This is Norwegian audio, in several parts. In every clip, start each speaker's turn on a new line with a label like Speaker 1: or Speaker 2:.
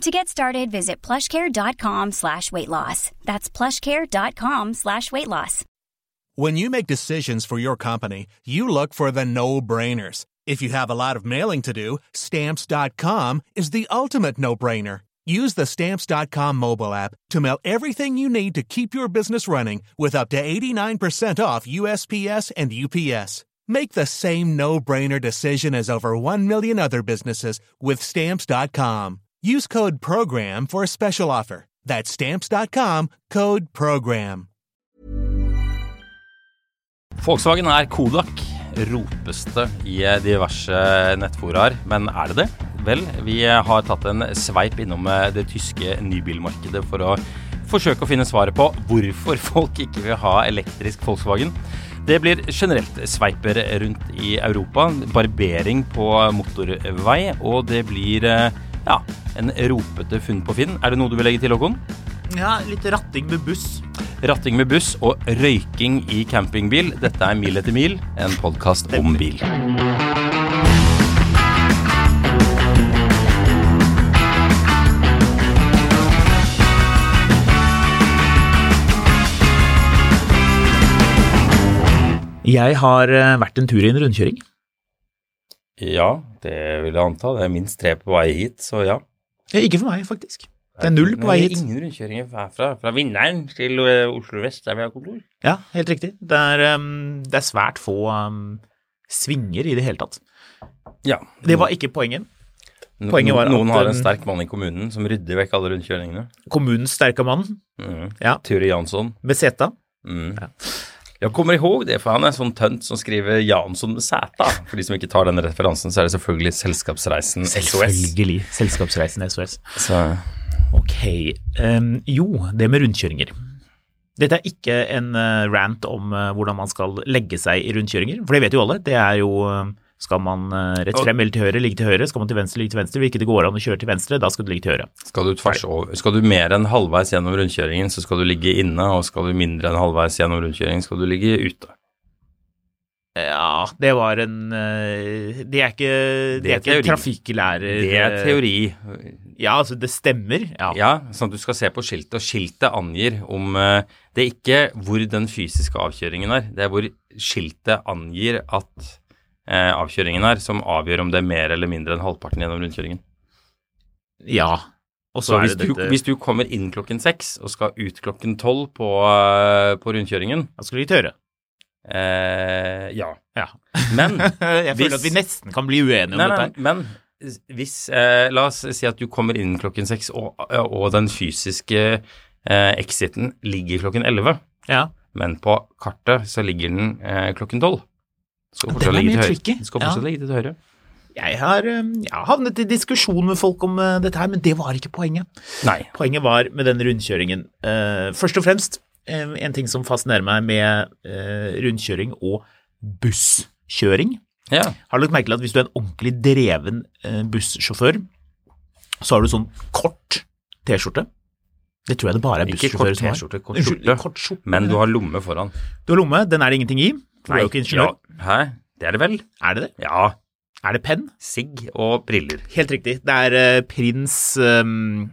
Speaker 1: To get started, visit plushcare.com slash weight loss. That's plushcare.com slash weight loss.
Speaker 2: When you make decisions for your company, you look for the no-brainers. If you have a lot of mailing to do, stamps.com is the ultimate no-brainer. Use the stamps.com mobile app to mail everything you need to keep your business running with up to 89% off USPS and UPS. Make the same no-brainer decision as over 1 million other businesses with stamps.com. Use code PROGRAM for a special offer. That's stamps.com code PROGRAM.
Speaker 3: Volkswagen er Kodak, ropes det i diverse nettforaer. Men er det det? Vel, vi har tatt en sveip innom eh, det tyske nybilmarkedet for å forsøke å finne svaret på hvorfor folk ikke vil ha elektrisk Volkswagen. Det blir generelt sveiper rundt i Europa, barbering på motorvei, og det blir eh, ja, en ropete funn på Finn. Er det noe du vil legge til, Håkon?
Speaker 4: Ja, litt ratting med buss.
Speaker 3: Ratting med buss og røyking i campingbil. Dette er Mil etter mil, en podkast om bil.
Speaker 4: Jeg har eh, vært en tur i en rundkjøring.
Speaker 3: Ja, det vil jeg anta. Det er minst tre på vei hit, så ja.
Speaker 4: ja Eh, ikke for meg, faktisk. Det er null på vei hit.
Speaker 3: Ingen rundkjøringer herfra. Fra Vinneren til eh, Oslo vest, der vi har kontor.
Speaker 4: Ja, helt riktig. Det er, um, det er svært få um, svinger i det hele tatt.
Speaker 3: Ja.
Speaker 4: Det var ikke poenget.
Speaker 3: Poenget var at Noen
Speaker 4: eh,
Speaker 3: har en sterk mann i kommunen som rydder vekk alle rundkjøringene.
Speaker 4: Kommunens sterke mann.
Speaker 3: Mm.
Speaker 4: Ja.
Speaker 3: Ture Jansson.
Speaker 4: Med seta.
Speaker 3: Mm.
Speaker 4: Ja.
Speaker 3: Jeg kommer ihåg det, for han er sånn tønt som skriver Jansson med sæta. For de som ikke tar den referansen, så er det selvfølgelig Selskapsreisen SOS.
Speaker 4: Selvfølgelig. Selskapsreisen SOS.
Speaker 3: Så,
Speaker 4: Ok. Um, jo, det med rundkjøringer. Dette er ikke en eh, rant om eh, hvordan man skal legge seg i rundkjøringer, for det vet jo alle. Det er jo eh, skal man eh, rett frem eller til høyre, ligge til høyre. Skal man til venstre, ligge til venstre. Hvis ikke det går an å kjøre til venstre, da skal du ligge til høyre.
Speaker 3: skal du tvers over Skal du mer enn halvveis gjennom rundkjøringen, så skal du ligge inne, og skal du mindre enn halvveis gjennom rundkjøringen, skal du ligge ute.
Speaker 4: Ja, det var en eh, Det er ikke, det er ikke
Speaker 3: teori.
Speaker 4: trafikklærer... eh,
Speaker 3: Det er teori.
Speaker 4: Ja, altså, det stemmer. Ja.
Speaker 3: Ja, sånn at du skal se på skiltet, og skiltet angir om eh, Det er ikke hvor den fysiske avkjøringen er, det er hvor skiltet angir at eh, avkjøringen er, som avgjør om det er mer eller mindre enn halvparten gjennom rundkjøringen.
Speaker 4: Ja. Og så
Speaker 3: Så
Speaker 4: er
Speaker 3: hvis
Speaker 4: det
Speaker 3: du,
Speaker 4: dette
Speaker 3: hvis du kommer inn klokken seks og skal ut klokken tolv på, eh, på rundkjøringen
Speaker 4: Da skal du ligge til høyre.
Speaker 3: eh, Ja.
Speaker 4: Ja.
Speaker 3: Men,
Speaker 4: Jeg føler
Speaker 3: Hvis-
Speaker 4: at vi nesten kan bli uenige om
Speaker 3: nei, nei,
Speaker 4: dette. her.
Speaker 3: men hvis eh, La oss si at du kommer inn klokken seks, og, eh, og den fysiske eh, exiten ligger klokken elleve.
Speaker 4: Ja.
Speaker 3: Men på kartet så ligger den eh, klokken tolv. Skal
Speaker 4: Ja,
Speaker 3: fortsatt
Speaker 4: den er
Speaker 3: ligge til
Speaker 4: mer
Speaker 3: høyre.
Speaker 4: tricky.
Speaker 3: Den Skal
Speaker 4: Ja.
Speaker 3: fortsatt ligge til høyre.
Speaker 4: Jeg har, eh, jeg har havnet i diskusjon med folk om eh, dette her, men det var ikke poenget.
Speaker 3: Nei.
Speaker 4: Poenget var med den rundkjøringen. eh, først og fremst, eh, en ting som fascinerer meg med eh, rundkjøring og busskjøring.
Speaker 3: Ja.
Speaker 4: Har du lagt merke til at hvis du er en ordentlig dreven eh, bussjåfør, så har du sånn kort T-skjorte? Det tror jeg det bare er
Speaker 3: Ikke kort
Speaker 4: bussjåfører som har.
Speaker 3: T-skjorte, kort
Speaker 4: Unnskyld,
Speaker 3: skjorte.
Speaker 4: kort skjorte.
Speaker 3: Men du har lomme foran.
Speaker 4: Du har lomme, den er det ingenting i. For du er jo ikke ingeniør.
Speaker 3: ja. Hæ? Det er det vel?
Speaker 4: Er det det?
Speaker 3: Ja.
Speaker 4: Er det penn?
Speaker 3: Sigg og briller.
Speaker 4: Helt riktig. Det er eh, prins ehm,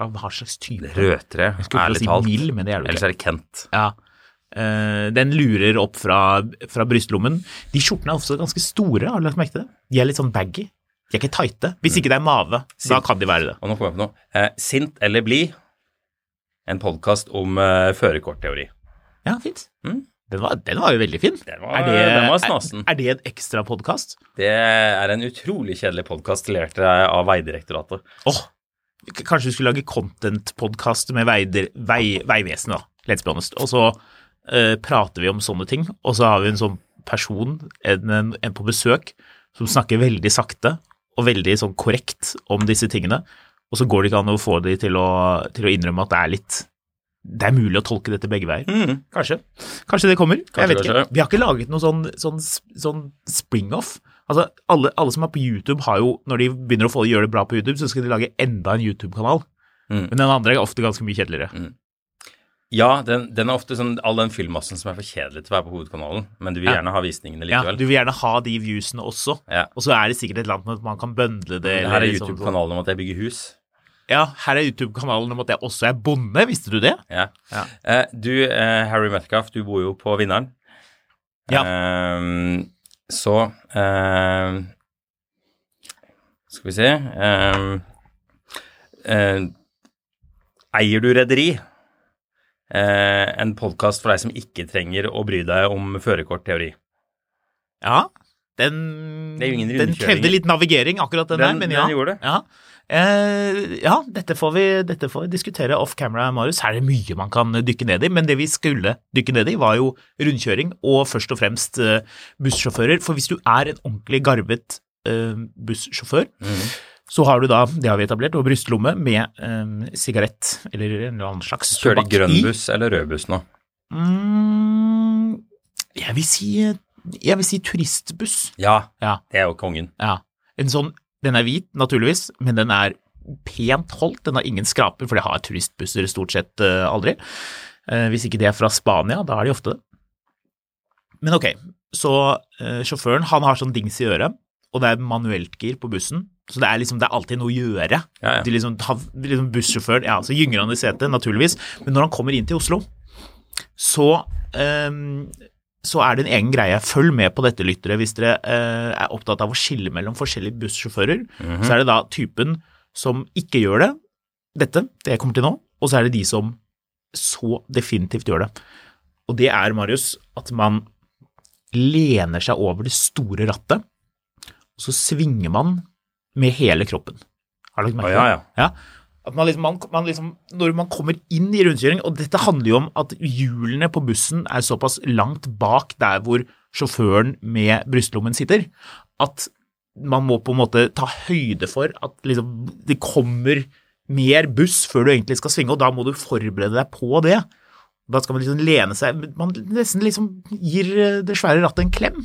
Speaker 4: ja, Hva slags type?
Speaker 3: Rødtre,
Speaker 4: Jeg skulle
Speaker 3: ærlig
Speaker 4: til å
Speaker 3: talt.
Speaker 4: si mild, men det er det
Speaker 3: Ellers
Speaker 4: jo ikke.
Speaker 3: er det Kent.
Speaker 4: Ja. Eh, den lurer opp fra, fra brystlommen. De skjortene er ofte ganske store, har du lagt merke til det? De er litt sånn baggy. De er ikke tighte.
Speaker 3: Mm.
Speaker 4: Hvis ikke det er mave, da
Speaker 3: Sint.
Speaker 4: kan de være det.
Speaker 3: Og nå kommer jeg på noe. Eh, sint eller blid? En podkast om eh, førerkortteori.
Speaker 4: Ja, fint.
Speaker 3: Mm.
Speaker 4: Den, var, den var jo veldig fin.
Speaker 3: Den var- den var snasen.
Speaker 4: Er, er det en ekstra podkast?
Speaker 3: Det er en utrolig kjedelig podkast levert eh, av Vegdirektoratet.
Speaker 4: Åh, k- kanskje du skulle lage content-podkast med veider, vei, Vegvesenet, da. Let's be honest. Og så eh, prater vi om sånne ting, og så har vi en sånn person, en, en, en på besøk, som snakker veldig sakte og veldig sånn korrekt om disse tingene, og så går det ikke an å få de til å, til å innrømme at det er litt det er mulig å tolke dette begge veier. Kanskje. Kanskje det kommer. jeg vet
Speaker 3: Mm. kanskje.
Speaker 4: ikke. Vi har ikke laget noe sånn, sånn, sånn spring-off. Altså, alle, alle som er på YouTube, har jo, når de begynner å få gjøre det bra på YouTube, så skal de lage enda en YouTube-kanal.
Speaker 3: Mm.
Speaker 4: Men den andre er ofte ganske mye kjedeligere.
Speaker 3: Ja, den, den er ofte sånn all den filmmassen som er for kjedelig til å være på hovedkanalen, men du vil
Speaker 4: Ja.
Speaker 3: gjerne ha visningene
Speaker 4: Ja,
Speaker 3: likevel.
Speaker 4: du vil gjerne ha de viewsene også,
Speaker 3: Ja.
Speaker 4: og så er det sikkert et eller annet med at man kan bøndle det.
Speaker 3: Det
Speaker 4: eller
Speaker 3: her er
Speaker 4: liksom-
Speaker 3: YouTube-kanalen om at jeg bygger hus.
Speaker 4: Ja, her er YouTube-kanalen om at jeg også er bonde, visste du det?
Speaker 3: Ja.
Speaker 4: Ja.
Speaker 3: Eh, du, eh, Harry Metcalf, du bor jo på Vinneren.
Speaker 4: Ja.
Speaker 3: Ehm, så ehm, Skal vi se ehm, eh, Eier du rederi? Eh, en podkast for deg som ikke trenger å bry deg om førerkortteori.
Speaker 4: Ja, den,
Speaker 3: Det er jo ingen
Speaker 4: den
Speaker 3: rundkjøringer.
Speaker 4: krevde litt navigering, akkurat den,
Speaker 3: Den-
Speaker 4: der, men
Speaker 3: den
Speaker 4: ja.
Speaker 3: gjorde det.
Speaker 4: Ja, eh, ja dette, får vi, dette får vi diskutere off camera, Marius. Her er det mye man kan dykke ned i, men det vi skulle dykke ned i, var jo rundkjøring og først og fremst eh, bussjåfører. For hvis du er en ordentlig garvet eh, bussjåfør,
Speaker 3: Mm.
Speaker 4: så har du da, det har vi etablert, og brystlomme med eh, sigarett eller en eller annen slags
Speaker 3: Kjører de
Speaker 4: tobakk
Speaker 3: grønn
Speaker 4: i.
Speaker 3: buss eller rød buss nå?
Speaker 4: Mm, jeg vil si eh, jeg vil si turistbuss.
Speaker 3: Ja,
Speaker 4: Ja.
Speaker 3: det er jo kongen.
Speaker 4: ja. En sånn, den er hvit, naturligvis, men den er pent holdt. Den har ingen skraper, for det har turistbusser stort sett eh, aldri. Eh, hvis ikke de er fra Spania, da er de ofte det. Men ok, så eh, sjåføren han har sånn dings i øret, og det er manueltgir på bussen. Så det er liksom, det er alltid noe å gjøre.
Speaker 3: Ja, ja.
Speaker 4: De liksom, ta- liksom bussjåføren, ja, så gynger han i setet, naturligvis. Men når han kommer inn til Oslo, så, ehm, så er det en egen greie. Følg med på dette, lyttere, hvis dere eh, er opptatt av å skille mellom forskjellige bussjåfører.
Speaker 3: Mhm.
Speaker 4: Så er det da typen som ikke gjør det, dette, det jeg kommer til nå, og så er det de som så definitivt gjør det. Og det er, Marius, at man lener seg over det store rattet, og så svinger man med hele kroppen. Har du lagt
Speaker 3: Å,
Speaker 4: merke til det?
Speaker 3: ja, ja.
Speaker 4: Ja. At man liksom, man, man liksom, når man kommer inn i rundkjøring, og dette handler jo om at hjulene på bussen er såpass langt bak der hvor sjåføren med brystlommen sitter, at man må på en måte ta høyde for at liksom, det kommer mer buss før du egentlig skal svinge, og da må du forberede deg på det. Da skal man liksom lene seg Man nesten liksom gir eh, det svære rattet en klem.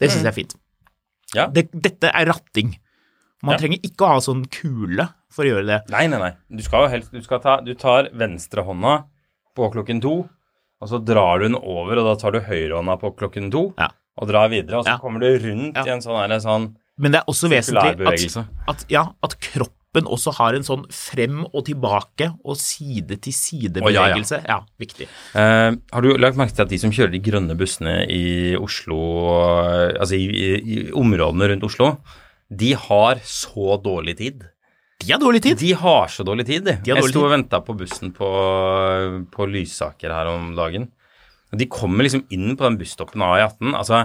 Speaker 4: Det syns jeg er fint.
Speaker 3: Mm. Ja.
Speaker 4: Det, dette er ratting. Man
Speaker 3: Ja.
Speaker 4: trenger ikke å ha sånn kule for å gjøre det.
Speaker 3: Nei, nei, nei. Du skal jo helst Du, skal ta, du tar venstrehånda på klokken to, og så drar du den over, og da tar du høyrehånda på klokken to,
Speaker 4: Ja.
Speaker 3: og drar videre, og så
Speaker 4: Ja.
Speaker 3: kommer du rundt
Speaker 4: Ja.
Speaker 3: i en sånn her sånn
Speaker 4: Men det er også
Speaker 3: Sirkulær
Speaker 4: vesentlig at,
Speaker 3: bevegelse.
Speaker 4: at, ja, at kroppen også har en sånn frem og tilbake og side til
Speaker 3: Å, ja, ja.
Speaker 4: side-bevegelse. ja, viktig.
Speaker 3: eh, Har du lagt merke til at de som kjører de grønne bussene i Oslo, eh, altså i, i, i områdene rundt Oslo, de har så dårlig tid.
Speaker 4: De har dårlig tid.
Speaker 3: De har så dårlig tid, de.
Speaker 4: De har
Speaker 3: jeg
Speaker 4: dårlig
Speaker 3: sto
Speaker 4: tid.
Speaker 3: og venta på bussen på, på Lysaker her om dagen. Og de kommer liksom inn på den busstoppen av E18. Altså,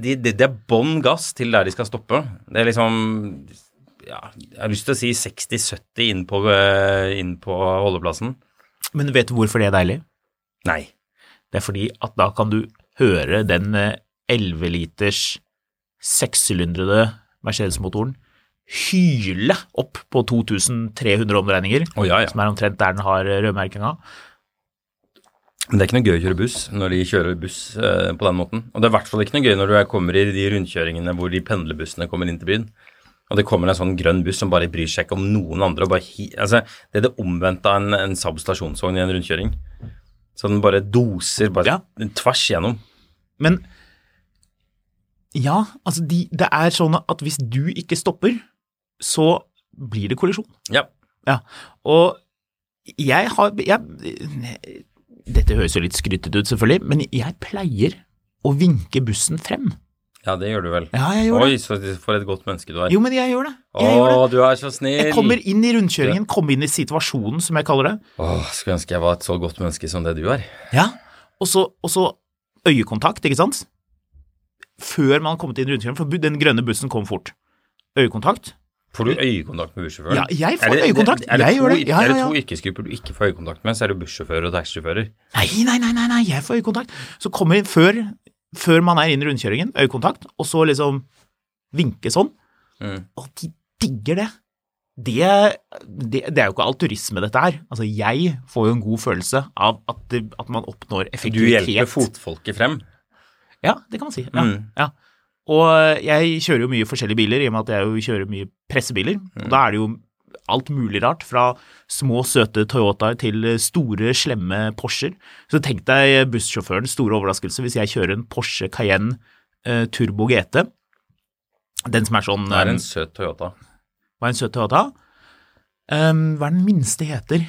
Speaker 3: det de, de er bånn gass til der de skal stoppe. Det er liksom ja, Jeg har lyst til å si 60-70 inn, på, eh, inn på holdeplassen.
Speaker 4: Men vet du hvorfor det er deilig?
Speaker 3: Nei.
Speaker 4: Det er fordi at da kan du høre den eh, 11 liters sekssylindrede Mercedes-motoren hyle opp på 2300 omdreininger,
Speaker 3: Å, ja, ja.
Speaker 4: som er omtrent der den har eh, rødmerkinga.
Speaker 3: Men det er ikke noe gøy å kjøre buss når de kjører buss eh, på den måten. Og det er i hvert fall ikke noe gøy når du er- kommer i de rundkjøringene hvor de pendlerbussene kommer inn til byen. Og det kommer en sånn grønn buss som bare bryr seg ikke om noen andre. Og bare hi altså, det er det omvendte av en, en Saab stasjonsvogn i en rundkjøring. Så den bare doser bare tvers igjennom.
Speaker 4: Men ja, altså de, det er sånn at hvis du ikke stopper, så blir det kollisjon.
Speaker 3: Ja.
Speaker 4: Ja, og jeg har jeg, Dette høres jo litt skryttet ut, selvfølgelig, men jeg pleier å vinke bussen frem.
Speaker 3: ja, det gjør du vel.
Speaker 4: Ja, jeg gjør det.
Speaker 3: Oi, så for et godt menneske du er.
Speaker 4: Jo, men jeg gjør det. Jeg, gjør det.
Speaker 3: Å, du er så snill.
Speaker 4: jeg kommer inn i rundkjøringen, kommer inn i situasjonen, som jeg kaller det.
Speaker 3: Åh, skulle ønske jeg var et så godt menneske som det du er.
Speaker 4: Ja, og så, og så øyekontakt, ikke sant? Før man har kommet inn i rundkjøringen, for bu- den grønne bussen kom fort. Øyekontakt,
Speaker 3: Får du øyekontakt med bussjåføren?
Speaker 4: Ja, jeg får
Speaker 3: Er det-
Speaker 4: øyekontakt.
Speaker 3: Er det,
Speaker 4: Jeg
Speaker 3: to,
Speaker 4: gjør det. Ja,
Speaker 3: er det
Speaker 4: ja,
Speaker 3: to
Speaker 4: ja.
Speaker 3: yrkesgrupper du ikke får øyekontakt med, så er det bussjåfører og taxisjåfører.
Speaker 4: Nei, nei, nei, nei, nei, jeg får øyekontakt. Så kommer jeg før, før man er inn i rundkjøringen, øyekontakt, og så liksom vinke sånn.
Speaker 3: Mm.
Speaker 4: Og de digger det. det, det, det er jo ikke all turisme, dette her. Altså, jeg får jo en god følelse av at, det, at man oppnår
Speaker 3: Du
Speaker 4: effektivitet.
Speaker 3: hjelper fotfolket frem.
Speaker 4: Ja, det kan man si. Ja,
Speaker 3: Mm.
Speaker 4: ja. Og jeg kjører jo mye forskjellige biler, i og med at jeg jo kjører mye pressebiler.
Speaker 3: Mm.
Speaker 4: Og da er det jo alt mulig rart, fra små, søte Toyotaer til store, slemme Porscher. Så tenk deg bussjåførens store overraskelse hvis jeg kjører en Porsche Cayenne eh, Turbo GT. Den som er sånn
Speaker 3: Det er
Speaker 4: eh,
Speaker 3: en søt Toyota.
Speaker 4: Hva er en søt Toyota? Ehm, hva er den minste heter?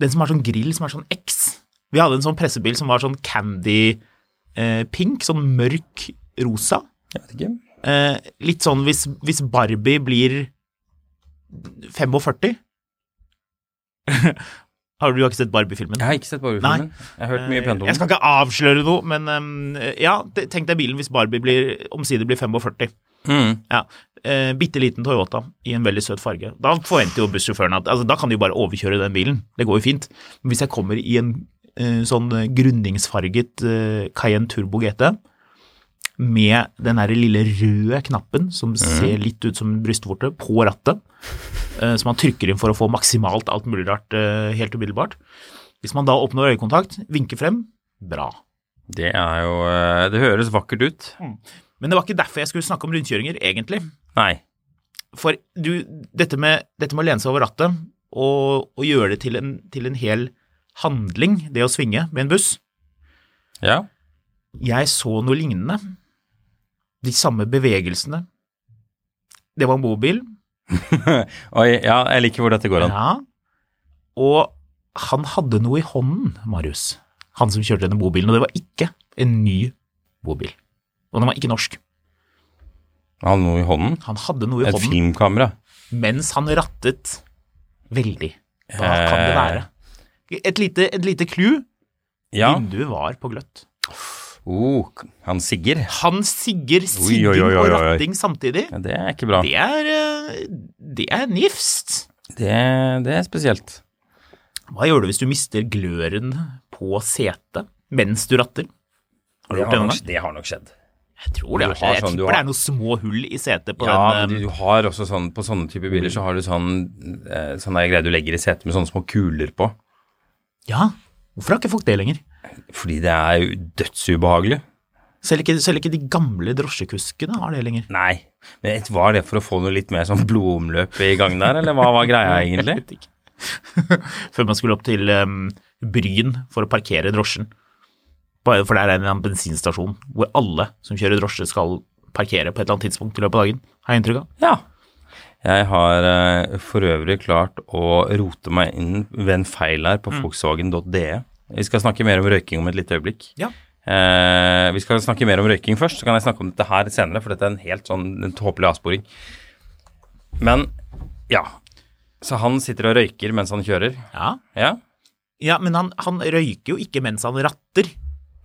Speaker 4: Den som har sånn grill som er sånn X. Vi hadde en sånn pressebil som var sånn candy eh, pink, sånn mørk rosa.
Speaker 3: Jeg vet ikke.
Speaker 4: Eh, litt sånn hvis, hvis Barbie blir 45. har du ikke sett Barbie-filmen?
Speaker 3: Jeg har ikke sett Borgerfilmen. Jeg har hørt mye pent om
Speaker 4: Jeg
Speaker 3: den.
Speaker 4: skal ikke avsløre noe, men ehm, ja, te- tenk deg bilen hvis Barbie blir, omsider blir 45.
Speaker 3: Mm.
Speaker 4: Ja. Eh, Bitte liten Toyota i en veldig søt farge. Da forventer jo bussjåføren at altså, da kan de jo bare overkjøre den bilen. Det går jo fint. Men hvis jeg kommer i en eh, sånn eh, grunningsfarget eh, Cayenne Turbo GT med den der lille røde knappen som ser litt ut som en brystvorte, på rattet, eh, som man trykker inn for å få maksimalt alt mulig rart eh, helt umiddelbart Hvis man da oppnår øyekontakt, vinker frem, bra.
Speaker 3: Det er jo eh, Det høres vakkert ut.
Speaker 4: Men det var ikke derfor jeg skulle snakke om rundkjøringer, egentlig.
Speaker 3: Nei.
Speaker 4: For du, dette med, dette med å lene seg over rattet og, og gjøre det til en, til en hel handling, det å svinge med en buss
Speaker 3: Ja.
Speaker 4: Jeg så noe lignende. De samme bevegelsene. Det var en bobil.
Speaker 3: Oi, ja, jeg liker hvor dette går an.
Speaker 4: Ja. Og han hadde noe i hånden, Marius. Han som kjørte denne bobilen. Og det var ikke en ny bobil. Og den var ikke norsk.
Speaker 3: Han hadde noe i hånden.
Speaker 4: Han hadde noe i
Speaker 3: Et
Speaker 4: hånden
Speaker 3: filmkamera.
Speaker 4: mens han rattet veldig. Hva kan det være? Et lite, et lite clue.
Speaker 3: Ja.
Speaker 4: Vinduet var på gløtt.
Speaker 3: Oh, han Sigger.
Speaker 4: Han sigger sigging
Speaker 3: oi, oi, oi,
Speaker 4: og
Speaker 3: oi.
Speaker 4: ratting samtidig.
Speaker 3: Ja, det er ikke bra.
Speaker 4: Det er, eh, det er nifst.
Speaker 3: Det, det er spesielt.
Speaker 4: Hva gjør du hvis du mister gløren på setet mens du ratter? Har du gjort det noen gang?
Speaker 3: det har nok skjedd.
Speaker 4: Jeg tror det.
Speaker 3: Du
Speaker 4: altså.
Speaker 3: har
Speaker 4: Jeg
Speaker 3: sånn- du
Speaker 4: tipper det
Speaker 3: har-
Speaker 4: er noen små hull i setet på
Speaker 3: Ja,
Speaker 4: den.
Speaker 3: men
Speaker 4: eh,
Speaker 3: du, du har også sånn På sånne typer biler så har du sånn eh, Sånn der greie du legger i setet med sånne små kuler på.
Speaker 4: Ja, hvorfor har ikke folk det lenger?
Speaker 3: Fordi det er jo dødsubehagelig.
Speaker 4: Selv ikke, selv ikke de gamle drosjekuskene har det lenger.
Speaker 3: Nei. Men et- var det for å få noe litt mer sånn blodomløp i gang der, eller hva var greia egentlig?
Speaker 4: Jeg vet ikke. Før man skulle opp til em, Bryn for å parkere drosjen. Bare for der er en eller annen bensinstasjon hvor alle som kjører drosje skal parkere på et eller annet tidspunkt i løpet av dagen, har jeg inntrykk av.
Speaker 3: Ja. Jeg har eh, for øvrig klart å rote meg inn ved en feil her
Speaker 4: Mm.
Speaker 3: på volkswagen.de. Vi skal snakke mer om røyking om et lite øyeblikk.
Speaker 4: Ja.
Speaker 3: Eh, vi skal snakke mer om røyking først, så kan jeg snakke om dette her senere, for dette er en helt sånn en tåpelig avsporing. Men ja. Så han sitter og røyker mens han kjører.
Speaker 4: Ja,
Speaker 3: Ja.
Speaker 4: ja men han, han røyker jo ikke mens han ratter.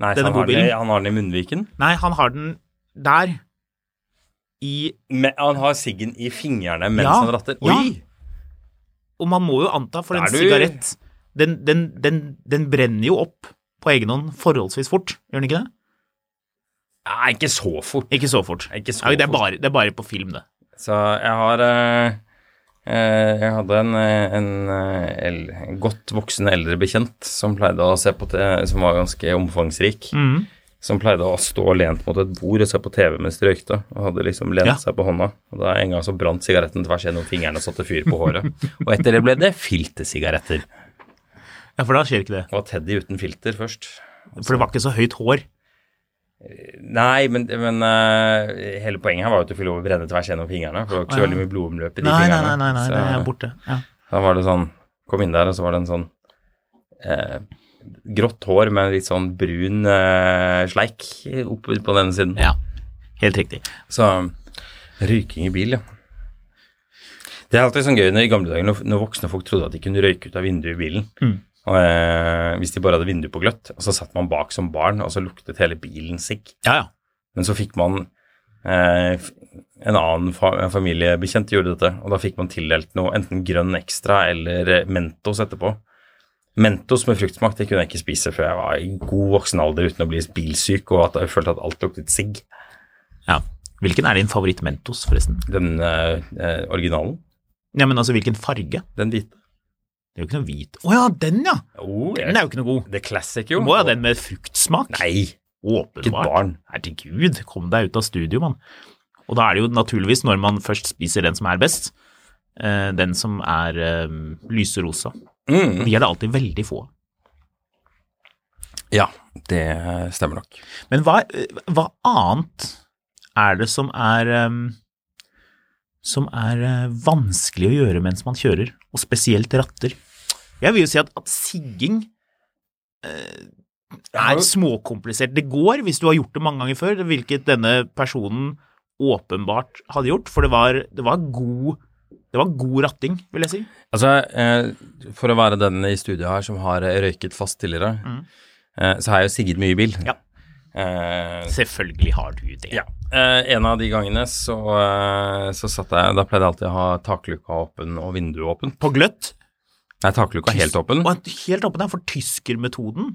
Speaker 3: Nei, så
Speaker 4: Denne
Speaker 3: han har, den,
Speaker 4: bobilen.
Speaker 3: i- han har den i munnviken.
Speaker 4: Nei, han har den der. I
Speaker 3: Men han har siggen i fingrene mens
Speaker 4: Ja.
Speaker 3: han ratter.
Speaker 4: Ja.
Speaker 3: Oi!
Speaker 4: Og man må jo anta, for en
Speaker 3: Der du-
Speaker 4: sigarett den, den, den, den brenner jo opp på egen hånd forholdsvis fort, gjør den ikke det?
Speaker 3: Nei, ikke så fort.
Speaker 4: Ikke så fort.
Speaker 3: Ikke så
Speaker 4: Ja, det, er
Speaker 3: fort.
Speaker 4: bare, det er bare på film, det.
Speaker 3: Så jeg har eh, eh, Jeg hadde en, eh, en, eh, el, en godt voksen eldre bekjent som pleide å se på te, som var ganske omfangsrik.
Speaker 4: Mm.
Speaker 3: Som pleide å stå lent mot et bord og se på TV mens de røykte. Og hadde liksom lent
Speaker 4: Ja.
Speaker 3: seg på hånda. Og da en gang så brant sigaretten tvers gjennom fingrene og satte fyr på håret. og etter det ble det filtersigaretter.
Speaker 4: Ja, For da skjer ikke det.
Speaker 3: Det var Teddy uten filter først.
Speaker 4: For det var ikke så høyt hår.
Speaker 3: Nei, men, men eh, hele poenget her var jo at du fikk lov å brenne tvers gjennom fingrene. For det var ikke så
Speaker 4: Ja.
Speaker 3: veldig mye blodomløp i de
Speaker 4: Nei, nei,
Speaker 3: fingrene.
Speaker 4: nei, nei, nei
Speaker 3: Så-
Speaker 4: det er borte. Ja.
Speaker 3: Da var det sånn Kom inn der, og så var det en sånn eh, grått hår med litt sånn brun eh, sleik oppe på denne siden.
Speaker 4: ja. Helt riktig.
Speaker 3: Så røyking i bil, ja. Det er alltid sånn gøy når, i gamle dager når, når voksne folk trodde at de kunne røyke ut av vinduet i bilen. Og, eh, hvis de bare hadde vinduet på gløtt, og så satt man bak som barn, og så luktet hele bilen sigg.
Speaker 4: Ja, ja.
Speaker 3: Men så fikk man eh, f- En annen fa en familiebekjent gjorde dette, og da fikk man tildelt noe, enten grønn ekstra eller eh, Mentos etterpå. Mentos med fruktsmak det kunne jeg ikke spise før jeg var i god voksen alder uten å bli bilsyk og at jeg følte at alt luktet sigg.
Speaker 4: ja. Hvilken er din favoritt Mentos, forresten?
Speaker 3: Den eh, eh, originalen.
Speaker 4: Ja, men altså, hvilken farge?
Speaker 3: Den hvite.
Speaker 4: Det er jo ikke noe hvit. Å ja, den ja!
Speaker 3: Oh,
Speaker 4: Den er jo ikke noe god.
Speaker 3: The classic,
Speaker 4: Du
Speaker 3: jo.
Speaker 4: må ha den med fruktsmak.
Speaker 3: Nei,
Speaker 4: Åpenbart.
Speaker 3: ikke et barn.
Speaker 4: Herregud, kom deg ut av studio, mann. Og da er det jo naturligvis, når man først spiser den som er best, eh, den som er eh, lyserosa.
Speaker 3: Mm.
Speaker 4: De er det alltid veldig få av.
Speaker 3: Ja, det stemmer nok.
Speaker 4: Men hva, eh, hva annet er det som er eh, som er eh, vanskelig å gjøre mens man kjører, og spesielt ratter? Jeg vil jo si at, at sigging eh,
Speaker 3: Ja,
Speaker 4: er småkomplisert. Det går hvis du har gjort det mange ganger før, hvilket denne personen åpenbart hadde gjort, for det var, det var god det var god ratting, vil jeg si.
Speaker 3: Altså, eh, for å være den i studiet her som har eh, røyket fast tidligere, eh, så har jeg jo sigget mye i bil.
Speaker 4: Mm. Ja.
Speaker 3: Eh,
Speaker 4: Selvfølgelig har du det.
Speaker 3: ja. Eh, en av de gangene så, eh, så satt jeg Da pleide jeg alltid å ha takluka åpen og vinduet åpent.
Speaker 4: På gløtt.
Speaker 3: Nei, takluka helt åpen.
Speaker 4: Og at helt oppe der, for tyskermetoden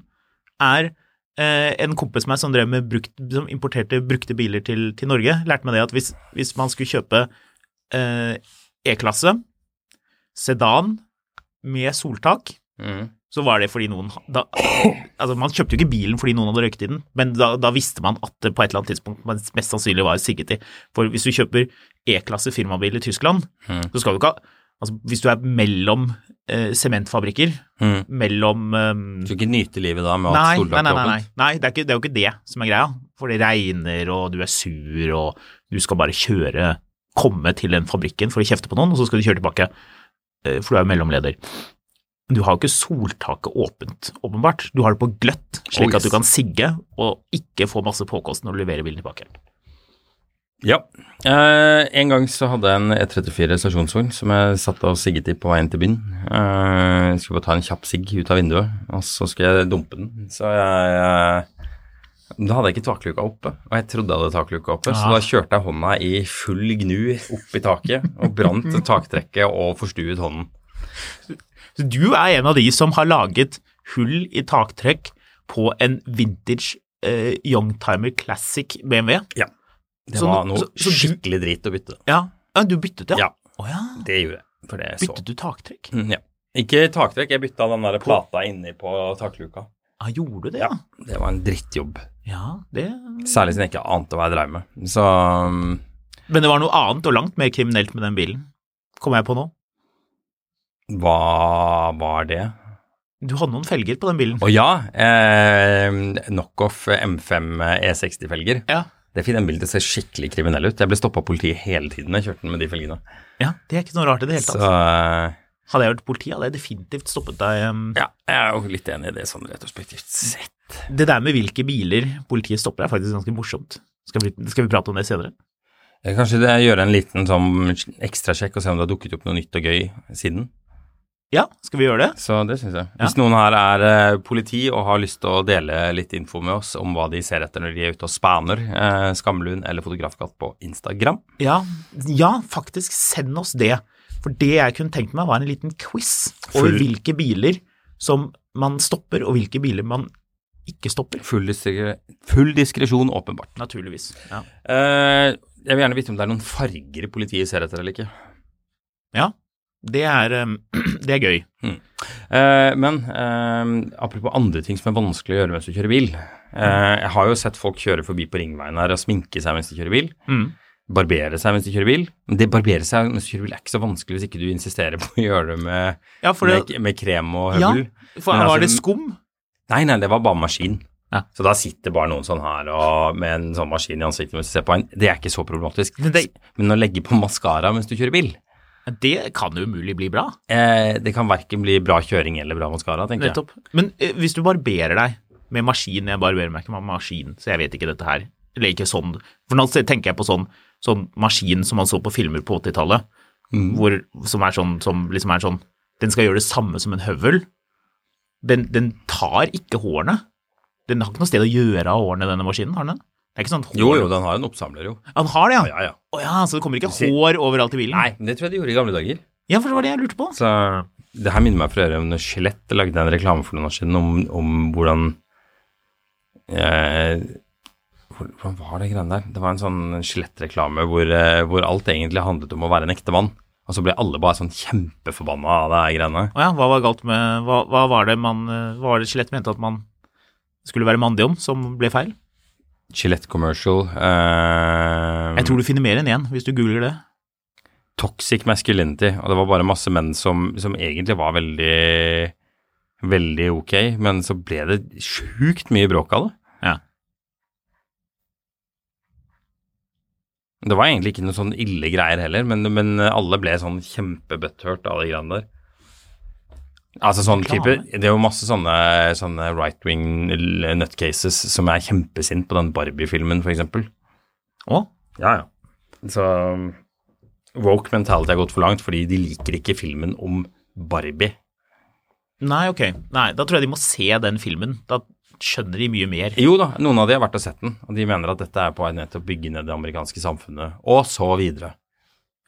Speaker 4: er eh, En kompis av meg som, drev med brukt, som importerte brukte biler til, til Norge, lærte meg det at hvis, hvis man skulle kjøpe eh, E-klasse, sedan med soltak,
Speaker 3: Mm.
Speaker 4: så var det fordi noen da, Altså, man kjøpte jo ikke bilen fordi noen hadde røyket i den, men da, da visste man at det på et eller annet tidspunkt man mest sannsynlig var sigget i. For hvis du kjøper E-klasse firmabil i Tyskland, så skal du ikke ha Altså, hvis du er mellom eh, sementfabrikker,
Speaker 3: Mm.
Speaker 4: mellom eh,
Speaker 3: Du skal ikke nyte livet da med at
Speaker 4: Nei, nei,
Speaker 3: soldaten
Speaker 4: nei,
Speaker 3: er
Speaker 4: nei,
Speaker 3: åpen?
Speaker 4: nei det, er ikke, det er jo ikke det som er greia. For det regner, og du er sur, og du skal bare kjøre, komme til den fabrikken for å kjefte på noen, og så skal du kjøre tilbake, eh, for du er jo mellomleder. Men Du har jo ikke soltaket åpent, åpenbart. Du har det på gløtt, slik
Speaker 3: Oi.
Speaker 4: at du kan sigge og ikke få masse påkost når du leverer bilen tilbake.
Speaker 3: Ja. Eh, en gang så hadde jeg en E34 stasjonsvogn som jeg satt og sigget i på veien til byen. Eh, jeg skulle bare ta en kjapp sigg ut av vinduet, og så skulle jeg dumpe den. Så jeg eh, Da hadde jeg ikke takluka oppe, og jeg trodde jeg hadde takluka oppe, så
Speaker 4: Ah.
Speaker 3: da kjørte jeg hånda i full gnu opp i taket og brant taktrekket og forstuet hånden.
Speaker 4: Så du er en av de som har laget hull i taktrekk på en vintage eh, Youngtimer Classic BMW.
Speaker 3: Ja. Det
Speaker 4: Så
Speaker 3: var
Speaker 4: nå-
Speaker 3: noe
Speaker 4: så- så du-
Speaker 3: skikkelig drit å bytte.
Speaker 4: Ja, ja du byttet det?
Speaker 3: Ja,
Speaker 4: Å ja.
Speaker 3: det gjorde jeg. For det så
Speaker 4: Byttet du taktrekk?
Speaker 3: Mm, ja. Ikke taktrekk, jeg bytta den der plata inni på takluka.
Speaker 4: Ja, gjorde du det,
Speaker 3: Ja,
Speaker 4: ja?
Speaker 3: det var en drittjobb.
Speaker 4: Ja, det
Speaker 3: Særlig siden jeg ikke ante hva jeg dreiv med. Så um,
Speaker 4: Men det var noe annet og langt mer kriminelt med den bilen, kom jeg på nå.
Speaker 3: hva var det?
Speaker 4: Du hadde noen felger på den bilen.
Speaker 3: Å ja, eh, knockoff M5 E60-felger.
Speaker 4: Ja.
Speaker 3: E Det finner en bil til å se skikkelig kriminell ut. Jeg ble stoppa av politiet hele tiden jeg kjørte den med de felgene.
Speaker 4: ja, det er ikke noe rart i det hele
Speaker 3: Så
Speaker 4: tatt.
Speaker 3: eh,
Speaker 4: Hadde jeg vært politi, hadde jeg definitivt stoppet deg. um,
Speaker 3: ja, jeg er jo litt enig i det sånn retrospektivt sett.
Speaker 4: Det der med hvilke biler politiet stopper, er faktisk ganske morsomt. Skal vi, skal vi prate om det senere?
Speaker 3: Jeg kan Eh, Kanskje det, gjøre en liten sånn ekstrasjekk og se om det har dukket opp noe nytt og gøy siden.
Speaker 4: Ja, skal vi gjøre det?
Speaker 3: Så det syns jeg. Hvis noen her er eh, politi og har lyst til å dele litt info med oss om hva de ser etter når de er ute og spaner eh, Skamlund eller Fotografkatt på Instagram.
Speaker 4: Ja, ja, faktisk, send oss det. For det jeg kunne tenkt meg, var en liten quiz over
Speaker 3: Full-
Speaker 4: hvilke biler som man stopper, og hvilke biler man ikke stopper.
Speaker 3: Full, diskre full diskresjon, åpenbart.
Speaker 4: Naturligvis. Ja.
Speaker 3: Eh, jeg vil gjerne vite om det er noen farger politiet ser etter eller ikke.
Speaker 4: Ja, det er, um, det er gøy.
Speaker 3: Eh, men eh, apropos andre ting som er vanskelig å gjøre mens du kjører bil. Eh, jeg har jo sett folk kjøre forbi på ringveien her og sminke seg mens de kjører bil. Barbere seg mens de kjører bil. Men det barbere seg mens du kjører bil er ikke så vanskelig hvis ikke du insisterer på å gjøre det med
Speaker 4: Ja, for, det,
Speaker 3: med, med krem og
Speaker 4: ja,
Speaker 3: høvel?
Speaker 4: for
Speaker 3: Men
Speaker 4: var
Speaker 3: altså-
Speaker 4: det skum?
Speaker 3: Nei, nei, det var bare maskin.
Speaker 4: Ja.
Speaker 3: Så da sitter bare noen sånn her og, med en sånn maskin i ansiktet mens du ser på en. Det er ikke så problematisk.
Speaker 4: Men det-
Speaker 3: Men å legge på maskara mens du kjører bil,
Speaker 4: Det kan jo umulig bli bra.
Speaker 3: eh, det kan verken bli bra kjøring eller bra maskara, tenker
Speaker 4: Nettopp. Men eh, hvis du barberer deg med maskin Jeg barberer meg ikke med maskin, så jeg vet ikke dette her. Eller ikke sånn For nå tenker jeg på sånn, sånn maskin som man så på filmer på 80-tallet,
Speaker 3: Mm.
Speaker 4: hvor- som, er sånn, som liksom er sånn Den skal gjøre det samme som en høvel. Den, den tar ikke hårene. Den har ikke noe sted å gjøre av hårene, denne maskinen, har den det? Det er ikke sånn at
Speaker 3: jeg. Jo,
Speaker 4: hår-
Speaker 3: jo, den har en oppsamler, jo.
Speaker 4: Han har det, ja?
Speaker 3: Ja, ja.
Speaker 4: Å ja, så det kommer ikke
Speaker 3: Si-
Speaker 4: hår overalt i bilen?
Speaker 3: Nei, men det tror jeg de gjorde i gamle dager.
Speaker 4: Ja, for det var det jeg lurte på.
Speaker 3: Så det her minner meg for øvrig om når Skjelett lagde en reklame for noen år siden om, om hvordan eh, hvor- Hvordan var det greiene der? Det var en sånn Skjelett-reklame hvor, eh, hvor alt egentlig handlet om å være en ekte mann. Og så ble alle bare sånn kjempeforbanna av det her greiene.
Speaker 4: Å ja, hva var galt med Hva, hva var det man eh, Hva var det Skjelett mente at man skulle være mandig om, som ble feil?
Speaker 3: Gillette commercial. eh,
Speaker 4: Jeg tror du finner mer enn én hvis du googler det.
Speaker 3: Toxic masculinity. Og det var bare masse menn som, som egentlig var veldig Veldig ok, men så ble det sjukt mye bråk av det.
Speaker 4: Ja.
Speaker 3: Det var egentlig ikke noe sånn ille greier heller, men, men alle ble sånn kjempebutthurt av de greiene der. Altså sånn type,
Speaker 4: Reklame.
Speaker 3: Det er jo masse sånne, sånne right wing nutcases som er kjempesint på den Barbie-filmen, for eksempel.
Speaker 4: Å?
Speaker 3: Ja, ja. Så um, woke mentality har gått for langt, fordi de liker ikke filmen om Barbie.
Speaker 4: Nei, ok. Nei, da tror jeg de må se den filmen. Da skjønner de mye mer.
Speaker 3: Jo da, noen av de har vært og sett den, og de mener at dette er på vei ned til å bygge ned det amerikanske samfunnet, og så videre.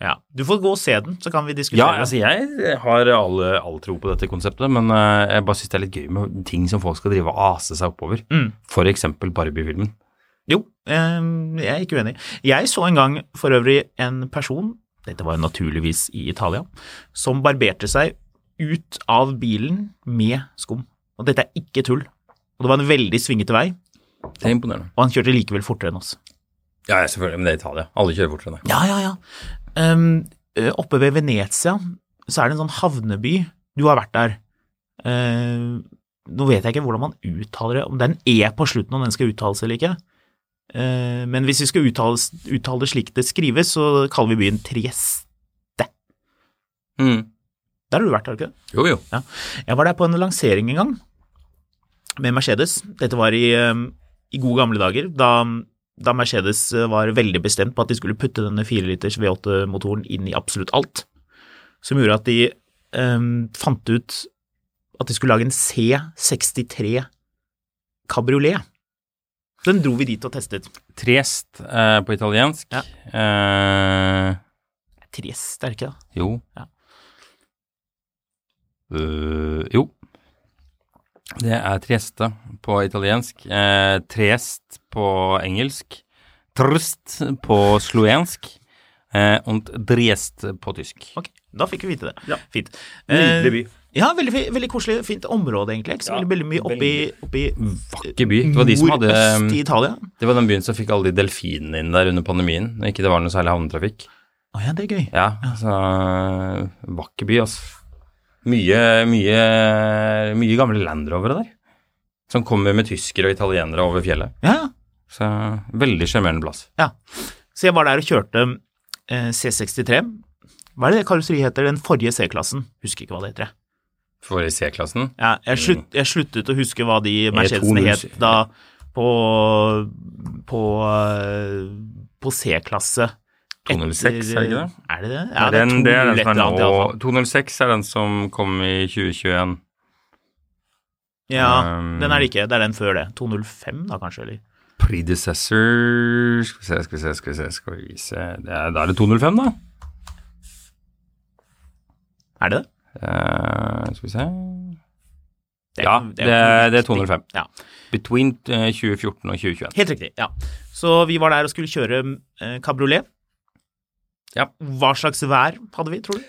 Speaker 4: Ja. Du får gå og se den, så kan vi diskutere.
Speaker 3: Ja, altså jeg har all, all tro på dette konseptet, men eh, jeg bare syns det er litt gøy med ting som folk skal drive og ase seg oppover.
Speaker 4: Mm.
Speaker 3: For eksempel Barbie-filmen.
Speaker 4: Jo, eh, jeg er ikke uenig. Jeg så en gang for øvrig en person, dette var jo naturligvis i Italia, som barberte seg ut av bilen med skum. Og dette er ikke tull. Og det var en veldig svingete vei,
Speaker 3: Det er imponerende.
Speaker 4: og han kjørte likevel fortere enn oss.
Speaker 3: Ja, ja, selvfølgelig, men det er Italia. Alle kjører fortere enn deg.
Speaker 4: Ja, ja, ja. Ehm, ø, oppe ved Venezia så er det en sånn havneby. Du har vært der. Ehm, nå vet jeg ikke hvordan man uttaler det, om det er en E på slutten om den skal uttales eller ikke. Ehm, men hvis vi skal uttales, uttale det slik det skrives, så kaller vi byen Trieste.
Speaker 3: Mm.
Speaker 4: Der har du vært, har du ikke det?
Speaker 3: Jo, jo.
Speaker 4: Ja. Jeg var der på en lansering en gang med Mercedes. Dette var i, ehm, i gode gamle dager, da, da Mercedes eh, var veldig bestemt på at de skulle putte denne 4-liters V8-motoren inn i absolutt alt. Som gjorde at de ehm, fant ut at de skulle lage en C63 kabriolet. Den dro vi dit og testet.
Speaker 3: Triest eh, på italiensk.
Speaker 4: Ja.
Speaker 3: Eh,
Speaker 4: Tre sterke, da.
Speaker 3: Jo.
Speaker 4: Ja.
Speaker 3: Øh, jo. Det er trieste på italiensk. Eh, triest på engelsk. Trst på slovensk. Eh, og driest på tysk.
Speaker 4: Ok, da fikk vi vite det.
Speaker 3: Ja.
Speaker 4: Fint.
Speaker 3: Nydelig by.
Speaker 4: Eh, Ja, veldig, fi- veldig koselig, fint område, egentlig. Ikke så
Speaker 3: Ja,
Speaker 4: veldig, veldig mye oppi, oppi eh,
Speaker 3: Vakker by. Det var de som hadde um,
Speaker 4: Nordøst i Italia.
Speaker 3: Det var den byen som fikk alle de delfinene inn der under pandemien. når Ikke det var noe særlig havnetrafikk.
Speaker 4: Å ja, det er gøy.
Speaker 3: Ja, så eh, vakker by, altså. Mye, mye, mye gamle landrovere der. Som kommer med tyskere og italienere over fjellet.
Speaker 4: Ja.
Speaker 3: Så veldig sjarmerende plass.
Speaker 4: ja. Så jeg var der og kjørte eh, C63. Hva er det det karosseriet heter? Den forrige C-klassen? Husker ikke hva det heter. jeg.
Speaker 3: For i C-klassen.
Speaker 4: Ja, jeg, slutt,
Speaker 3: Mm.
Speaker 4: jeg sluttet å huske hva de
Speaker 3: E
Speaker 4: Mercedesene het
Speaker 3: E207.
Speaker 4: da på, på, eh, på C-klasse.
Speaker 3: 206, er det ikke det?
Speaker 4: Er det det?
Speaker 3: Ja,
Speaker 4: Ja, det er,
Speaker 3: den, det er den
Speaker 4: 200 et
Speaker 3: som er
Speaker 4: eller annet, i alle
Speaker 3: nå.
Speaker 4: fall.
Speaker 3: 206 er den som kom i 2021.
Speaker 4: Ja,
Speaker 3: Um,
Speaker 4: den er det ikke. Det er den før det. 205 da, kanskje? eller?
Speaker 3: Predecessor Skal vi se, skal vi se, skal vi se, skal vi se. Det er, da er det 205, da.
Speaker 4: Er det det?
Speaker 3: Eh, skal vi se.
Speaker 4: Det er-
Speaker 3: Ja,
Speaker 4: det
Speaker 3: det,
Speaker 4: er
Speaker 3: er- det er
Speaker 4: 206.
Speaker 3: 205.
Speaker 4: Ja.
Speaker 3: Between eh, 2014 og 2021.
Speaker 4: Helt riktig, ja. Så vi var der og skulle kjøre eh, kabriolet.
Speaker 3: Ja.
Speaker 4: Hva slags vær hadde vi, tror du?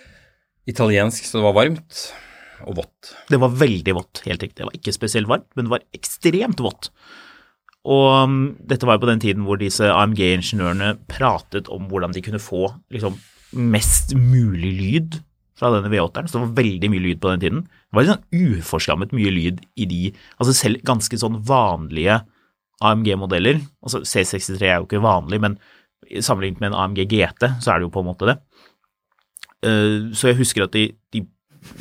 Speaker 3: Italiensk, så det var varmt og vått.
Speaker 4: Det var veldig vått, helt riktig. Det var ikke spesielt varmt, men det var ekstremt vått. Og mm, dette var jo på den tiden hvor disse AMG-ingeniørene pratet om hvordan de kunne få liksom, mest mulig lyd fra denne V8-eren, så det var veldig mye lyd på den tiden. Det var litt sånn uforskammet mye lyd i de, altså selv ganske sånn vanlige AMG-modeller, altså C63 er jo ikke vanlig, men sammenlignet med en AMG GT, så er det jo på en måte det. Eh, Så jeg husker at de, de,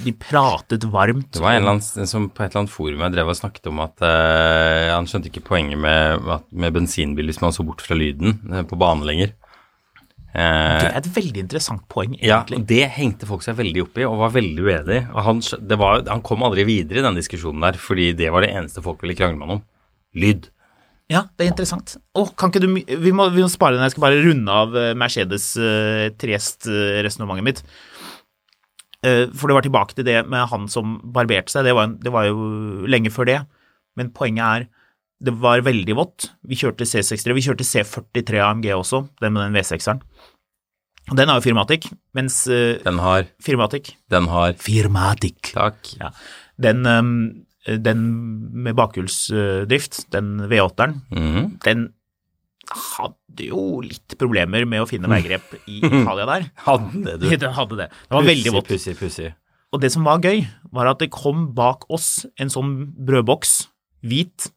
Speaker 4: de pratet varmt.
Speaker 3: Det var en eller annen som på et eller annet forum jeg drev og snakket om at eh, han skjønte ikke poenget med, at- med bensinbil hvis man så bort fra lyden eh, på banen lenger.
Speaker 4: Det
Speaker 3: Eh,
Speaker 4: er et veldig interessant poeng,
Speaker 3: ja,
Speaker 4: egentlig.
Speaker 3: og det hengte folk seg veldig opp i og var veldig uenig i. Og han, skj- det var, han kom aldri videre i den diskusjonen der, fordi det var det eneste folk ville krangle med han om. Lyd.
Speaker 4: Ja, det er interessant. Å, kan ikke du my- Vi må, vi må spare den, jeg skal bare runde av eh, Mercedes eh, Triest-resonnementet mitt. Eh, For det var tilbake til det med han som barberte seg, det var, en- det var jo lenge før det. Men poenget er, det var veldig vått. Vi kjørte C63, vi kjørte C43 AMG også, den med den V6-eren. Og Den har jo Firmatic, mens eh,
Speaker 3: Den har,
Speaker 4: Firmatic
Speaker 3: den har
Speaker 4: Firmatic.
Speaker 3: Takk.
Speaker 4: Ja. Den, ehm, den med bakhjulsdrift, den V8-eren,
Speaker 3: Mhm.
Speaker 4: den hadde jo litt problemer med å finne veigrep i Italia der.
Speaker 3: Hadde du.
Speaker 4: Den hadde det. Det var veldig vått.
Speaker 3: Pussig, pussig.
Speaker 4: Og det som var gøy, var at det kom bak oss en sånn brødboks, hvit,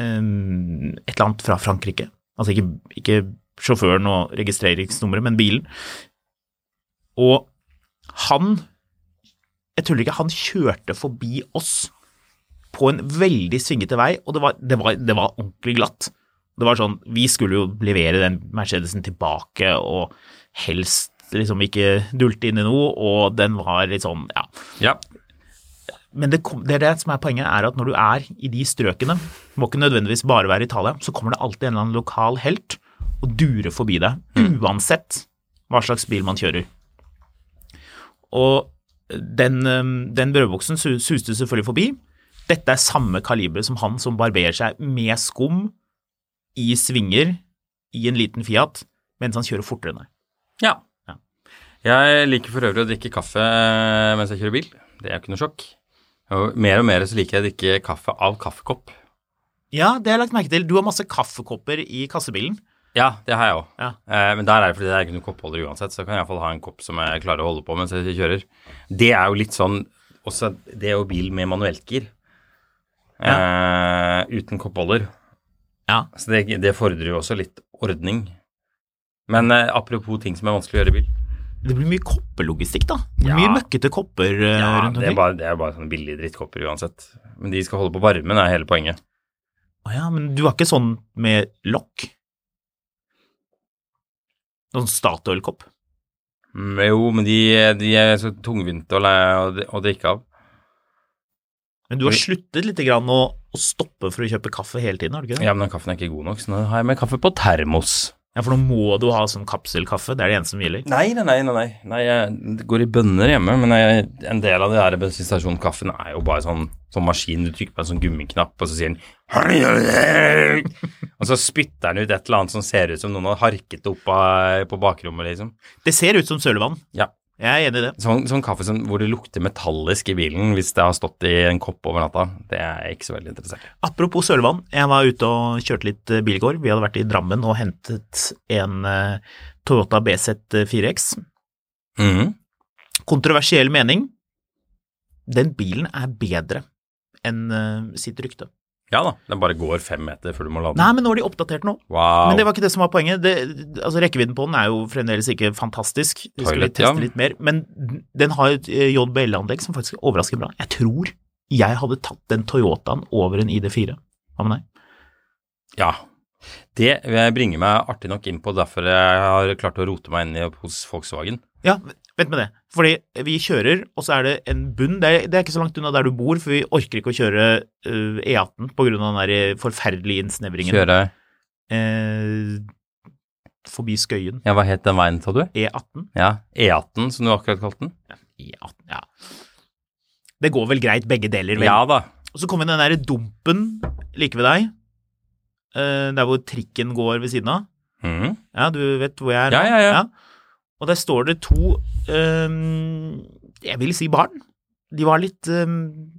Speaker 4: ehm, et eller annet fra Frankrike. Altså ikke, ikke sjåføren og registreringsnummeret, men bilen. Og han, jeg tuller ikke, han kjørte forbi oss på en veldig svingete vei, og det var, det var, det var ordentlig glatt. Det var sånn, vi skulle jo levere den Mercedesen tilbake, og helst liksom ikke dulte inn i noe, og den var litt sånn, ja.
Speaker 3: Ja.
Speaker 4: Men det, kom, det er det som er poenget, er at når du er i de strøkene, det må ikke nødvendigvis bare være Italia, så kommer det alltid en eller annen lokal helt og durer forbi deg, uansett hva slags bil man kjører. Og den, øhm, den brødboksen su- suste selvfølgelig forbi. Dette er samme kaliber som han som barberer seg med skum i svinger i en liten Fiat, mens han kjører fortere enn deg.
Speaker 3: ja.
Speaker 4: Ja.
Speaker 3: Jeg liker for øvrig å drikke kaffe eh, mens jeg kjører bil. Det er jo ikke noe sjokk. Og mer og mer så liker jeg å drikke kaffe av kaffekopp.
Speaker 4: Ja, det har jeg lagt merke til. Du har masse kaffekopper i kassebilen.
Speaker 3: Ja, det har jeg òg.
Speaker 4: Ja.
Speaker 3: Eh, men der er det fordi det er ikke noen koppholder uansett, så kan jeg iallfall ha en kopp som jeg klarer å holde på mens jeg kjører. Det er jo litt sånn også Det er jo bil med manuellgir. Eh, uten koppholder.
Speaker 4: Ja.
Speaker 3: Så det, det fordrer jo også litt ordning. Men eh, apropos ting som er vanskelig å gjøre i bil.
Speaker 4: Det blir mye koppelogistikk, da. Det blir
Speaker 3: Ja.
Speaker 4: Mye møkkete kopper eh,
Speaker 3: det,
Speaker 4: rundt
Speaker 3: er
Speaker 4: omkring.
Speaker 3: bare, det er bare sånne billige drittkopper uansett. Men de skal holde på varmen, er hele poenget.
Speaker 4: Å ja, men du har ikke sånn med lokk? Noen Statoil-kopp?
Speaker 3: Mm, jo, men de, de er så tungvinte å, læ- å, dri- å drikke av.
Speaker 4: Men du har
Speaker 3: Vi-
Speaker 4: sluttet litt grann å, å stoppe for å kjøpe kaffe hele tiden, har du ikke det?
Speaker 3: Ja, men den kaffen er ikke god nok, så nå har jeg med kaffe på termos.
Speaker 4: Ja, for nå må du ha sånn kapselkaffe, det er det eneste som gjelder.
Speaker 3: Nei, nei, nei. nei, nei. nei jeg, det går i bønner hjemme, men jeg, en del av det der bensinstasjonkaffen er jo bare sånn, sånn maskin. Du trykker på en sånn gummiknapp, og så sier den Og så spytter den ut et eller annet som ser ut som noen har harket det opp av, på bakrommet, liksom.
Speaker 4: Det ser ut som sølevann,
Speaker 3: Ja.
Speaker 4: jeg er enig i det.
Speaker 3: Sånn, sånn kaffe som, hvor det lukter metallisk i bilen hvis det har stått i en kopp over natta, det er jeg ikke så veldig interessert i.
Speaker 4: Apropos sølevann, jeg var ute og kjørte litt eh, bil i går. Vi hadde vært i Drammen og hentet en eh, Toyota BZ4X. Mhm. Kontroversiell mening. Den bilen er bedre enn eh, sitt rykte.
Speaker 3: Ja da, den bare går fem meter før du må lade
Speaker 4: Nei,
Speaker 3: den.
Speaker 4: men nå har de oppdatert nå.
Speaker 3: Wow.
Speaker 4: Men det var ikke det som var poenget. Det, altså Rekkevidden på den er jo fremdeles ikke fantastisk. Vi skulle
Speaker 3: Toilet,
Speaker 4: teste
Speaker 3: ja.
Speaker 4: litt mer. Men den har et eh, JBL-anlegg som faktisk er overraskende bra. Jeg tror jeg hadde tatt den Toyotaen over en ID4. Hva med deg?
Speaker 3: Ja. Det eh, bringer meg artig nok inn på derfor jeg har klart å rote meg inn i hos Volkswagen.
Speaker 4: Ja, vent med det. Fordi vi kjører, og så er det en bunn. Det er, det er ikke så langt unna der du bor, for vi orker ikke å kjøre eh, E18 på grunn av den der forferdelige innsnevringen.
Speaker 3: Kjøre
Speaker 4: Eh, forbi Skøyen.
Speaker 3: Ja, hva het den veien, sa du?
Speaker 4: E18.
Speaker 3: Ja. E18, som du akkurat kalte den?
Speaker 4: E18, ja. Det går vel greit, begge deler, vel?
Speaker 3: Ja da.
Speaker 4: Og så kommer den der dumpen like ved deg, eh, der hvor trikken går ved siden av.
Speaker 3: Mhm.
Speaker 4: Ja, du vet hvor jeg er?
Speaker 3: Ja, ja, ja.
Speaker 4: Og der står det to, ehm, jeg vil si barn. De var litt ehm,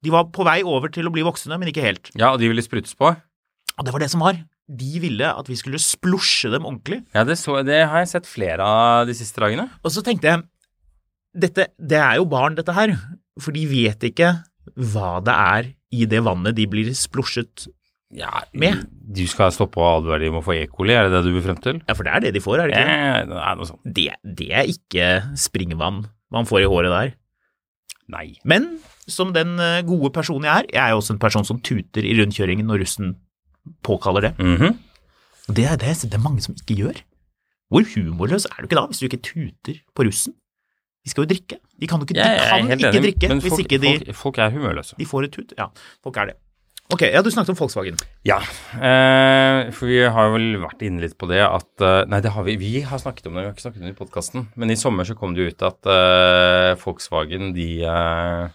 Speaker 4: De var på vei over til å bli voksne, men ikke helt.
Speaker 3: Ja, og de ville sprutes på?
Speaker 4: Og det var det som var. De ville at vi skulle splusje dem ordentlig.
Speaker 3: Ja, det, så, det har jeg sett flere av de siste dagene.
Speaker 4: Og så tenkte jeg dette, Det er jo barn, dette her. For de vet ikke hva det er i det vannet de blir splusjet
Speaker 3: Ja,
Speaker 4: Med?
Speaker 3: Du skal stoppe og advare dem om å få E. coli, er det det du vil frem til?
Speaker 4: Ja, for det er det de får, er det ikke? det?
Speaker 3: Ja, det er noe sånt.
Speaker 4: det, det er ikke springvann man får i håret der.
Speaker 3: Nei.
Speaker 4: Men som den eh, gode personen jeg er, jeg er jo også en person som tuter i rundkjøringen når russen påkaller det.
Speaker 3: Mhm.
Speaker 4: Og Det er det, det er mange som ikke gjør. Hvor humorløs er du ikke da, hvis du ikke tuter på russen? De skal jo drikke. De kan, jo ikke,
Speaker 3: Jeg
Speaker 4: de
Speaker 3: er
Speaker 4: kan
Speaker 3: helt
Speaker 4: ikke
Speaker 3: enig,
Speaker 4: drikke
Speaker 3: men
Speaker 4: hvis
Speaker 3: folk,
Speaker 4: ikke de,
Speaker 3: folk, folk er humørløse.
Speaker 4: de får et tut. Ja, folk er det. Ok, ja, du snakket om Volkswagen.
Speaker 3: Ja. Eh, for vi har vel vært inne litt på det at eh, Nei, det har vi. Vi har snakket om det, vi har ikke snakket om det i podkasten. Men i sommer så kom det jo ut at eh, Volkswagen, de, eh,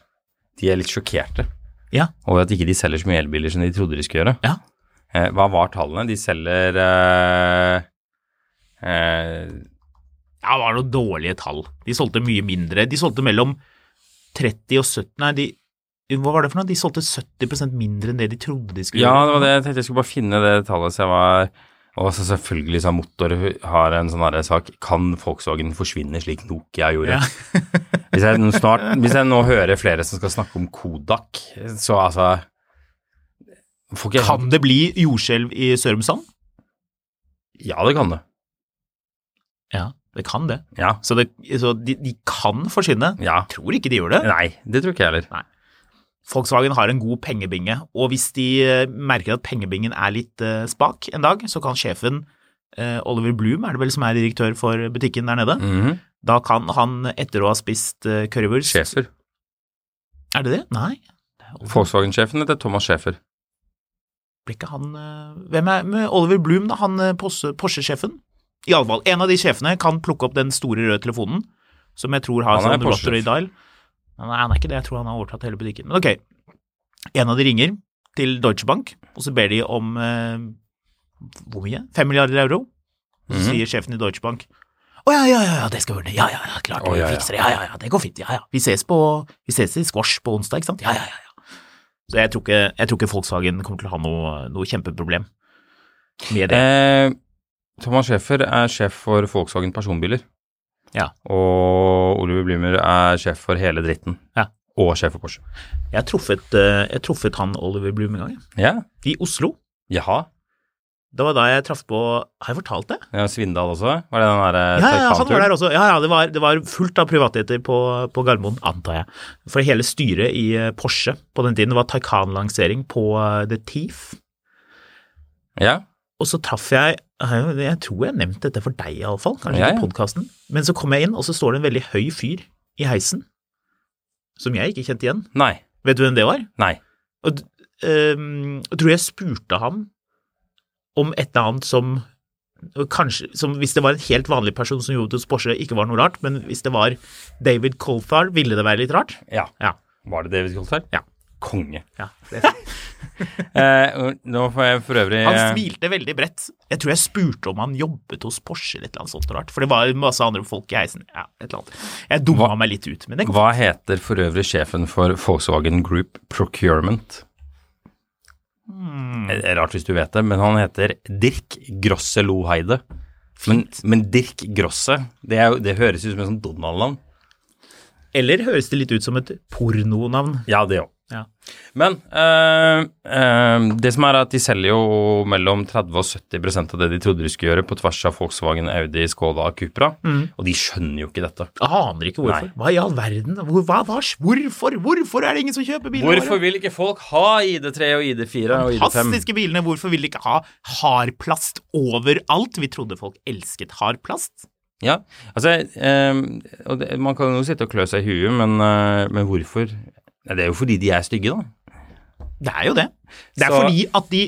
Speaker 3: de er litt sjokkerte
Speaker 4: Ja.
Speaker 3: over at ikke de selger så mye elbiler som de trodde de skulle gjøre.
Speaker 4: Ja.
Speaker 3: Eh, hva var tallene? De selger eh, eh,
Speaker 4: Ja, det var noen dårlige tall. De solgte mye mindre. De solgte mellom 30 og 70 Nei, de, hva var det for noe? De solgte 70 mindre enn det de trodde de skulle
Speaker 3: Ja,
Speaker 4: gjøre.
Speaker 3: det var det. Jeg tenkte jeg skulle bare finne det tallet, så jeg var Og så selvfølgelig så Motor har en sånn her sak Kan Volkswagen forsvinne slik Nokia gjorde?
Speaker 4: Ja.
Speaker 3: hvis, jeg nå snart, hvis jeg nå hører flere som skal snakke om Kodak, så altså får ikke jeg- sånn-
Speaker 4: Kan det bli jordskjelv i Sørumsand?
Speaker 3: Ja, det kan det.
Speaker 4: Ja, det kan det.
Speaker 3: Ja.
Speaker 4: Så, det, så de, de kan forsvinne.
Speaker 3: ja.
Speaker 4: Jeg tror ikke de gjør det.
Speaker 3: Nei, det tror ikke jeg heller.
Speaker 4: Volkswagen har en god pengebinge, og hvis de eh, merker at pengebingen er litt eh, spak en dag, så kan sjefen, eh, Oliver Bloom er det vel som er direktør for butikken der nede,
Speaker 3: Mhm.
Speaker 4: da kan han etter å ha spist eh, currywurst
Speaker 3: Schæfer.
Speaker 4: Er det det? Nei.
Speaker 3: Volkswagen-sjefen heter Thomas Schæfer.
Speaker 4: Ble ikke han eh, Hvem er med Oliver Bloom, da? Han eh, Porsche- Porsche-sjefen? I alle fall, en av de sjefene kan plukke opp den store røde telefonen, som jeg tror har
Speaker 3: Han er
Speaker 4: sånn
Speaker 3: Porsche-sjef.
Speaker 4: rotary dial. Nei, han er ikke det, jeg tror han har overtatt hele butikken. Men ok, en av de ringer til Deutsche Bank, og så ber de om eh, hvor mye? Fem milliarder euro? Så
Speaker 3: Mhm.
Speaker 4: sier sjefen i Deutsche Bank å ja, ja, ja, ja, det skal vi ordne. Ja, ja, ja, klart
Speaker 3: Å,
Speaker 4: vi
Speaker 3: ja, ja.
Speaker 4: fikser det. Ja, ja, ja, det går fint. Ja, ja. Vi ses, på, vi ses i squash på onsdag, ikke sant? Ja, ja, ja. ja. Så jeg tror ikke, jeg tror ikke Volkswagen kommer til å ha noe, noe kjempeproblem med det.
Speaker 3: Eh, Thomas Schäfer er sjef for Volkswagen personbiler.
Speaker 4: Ja.
Speaker 3: Og Oliver Blymer er sjef for hele dritten.
Speaker 4: Ja.
Speaker 3: Og sjef for Porsche.
Speaker 4: Jeg har truffet, eh, jeg har truffet han Oliver Bloom en gang, jeg.
Speaker 3: Ja.
Speaker 4: i Oslo.
Speaker 3: Jaha.
Speaker 4: Det var da jeg traff på Har jeg fortalt det?
Speaker 3: Ja, Svindal også? Var det den eh, derre
Speaker 4: Ja, ja, han var der også. Ja, ja, det var, det var fullt av privatjeter på, på Gardermoen, antar jeg. For hele styret i eh, Porsche på den tiden var Taycan-lansering på eh, The Thief.
Speaker 3: Ja.
Speaker 4: Og så traff jeg eh, Jeg tror jeg har nevnt dette for deg, iallfall. Kanskje
Speaker 3: Ja,
Speaker 4: ikke
Speaker 3: ja.
Speaker 4: i podkasten. Men så kom jeg inn, og så står det en veldig høy fyr i heisen. Som jeg ikke kjente igjen.
Speaker 3: Nei.
Speaker 4: Vet du hvem det var?
Speaker 3: Nei.
Speaker 4: Og d- ehm, jeg tror jeg spurte ham om et eller annet som Kanskje som Hvis det var en helt vanlig person som jobbet hos Porsche, ikke var noe rart, men hvis det var David Colthar, ville det være litt rart?
Speaker 3: Ja.
Speaker 4: Ja.
Speaker 3: Var det David Coltard?
Speaker 4: Ja.
Speaker 3: Konge.
Speaker 4: ja. Det,
Speaker 3: Eh, nå får jeg for øvrig
Speaker 4: Han smilte veldig bredt. Jeg tror jeg spurte om han jobbet hos Porsche eller et eller annet sånt rart, for det var masse andre folk i heisen. Ja, et eller annet. Jeg dumma
Speaker 3: Hva-
Speaker 4: meg litt ut, men det går
Speaker 3: Hva heter for øvrig sjefen for Volkswagen Group Procurement? Det er Rart hvis du vet det, men han heter Dirk Grosse Loheide. Men, men Dirk Grosse, det, er jo, det høres ut som et sånt Donald-navn.
Speaker 4: Eller høres det litt ut som et pornonavn?
Speaker 3: Ja, det òg.
Speaker 4: Ja.
Speaker 3: Men eh, eh, det som er at de selger jo mellom 30 og 70 av det de trodde de skulle gjøre, på tvers av Volkswagen, Audi, Skoda og Cupra. Og de skjønner jo ikke dette.
Speaker 4: Jeg Aner ikke hvorfor.
Speaker 3: Nei.
Speaker 4: Hva i all verden? Hvor, hva, hva, hvorfor? Hvorfor er det ingen som kjøper biler?
Speaker 3: Hvorfor vil ikke folk ha ID3 og ID4 og ID5?
Speaker 4: Fantastiske bilene, hvorfor vil de ikke ha hardplast overalt? Vi trodde folk elsket hardplast.
Speaker 3: Ja, altså eh, og det, Man kan jo sitte og klø seg i huet, men, eh, men hvorfor? Nei, det er jo fordi de er stygge, da.
Speaker 4: Det er jo det. Det er
Speaker 3: Så-
Speaker 4: fordi at de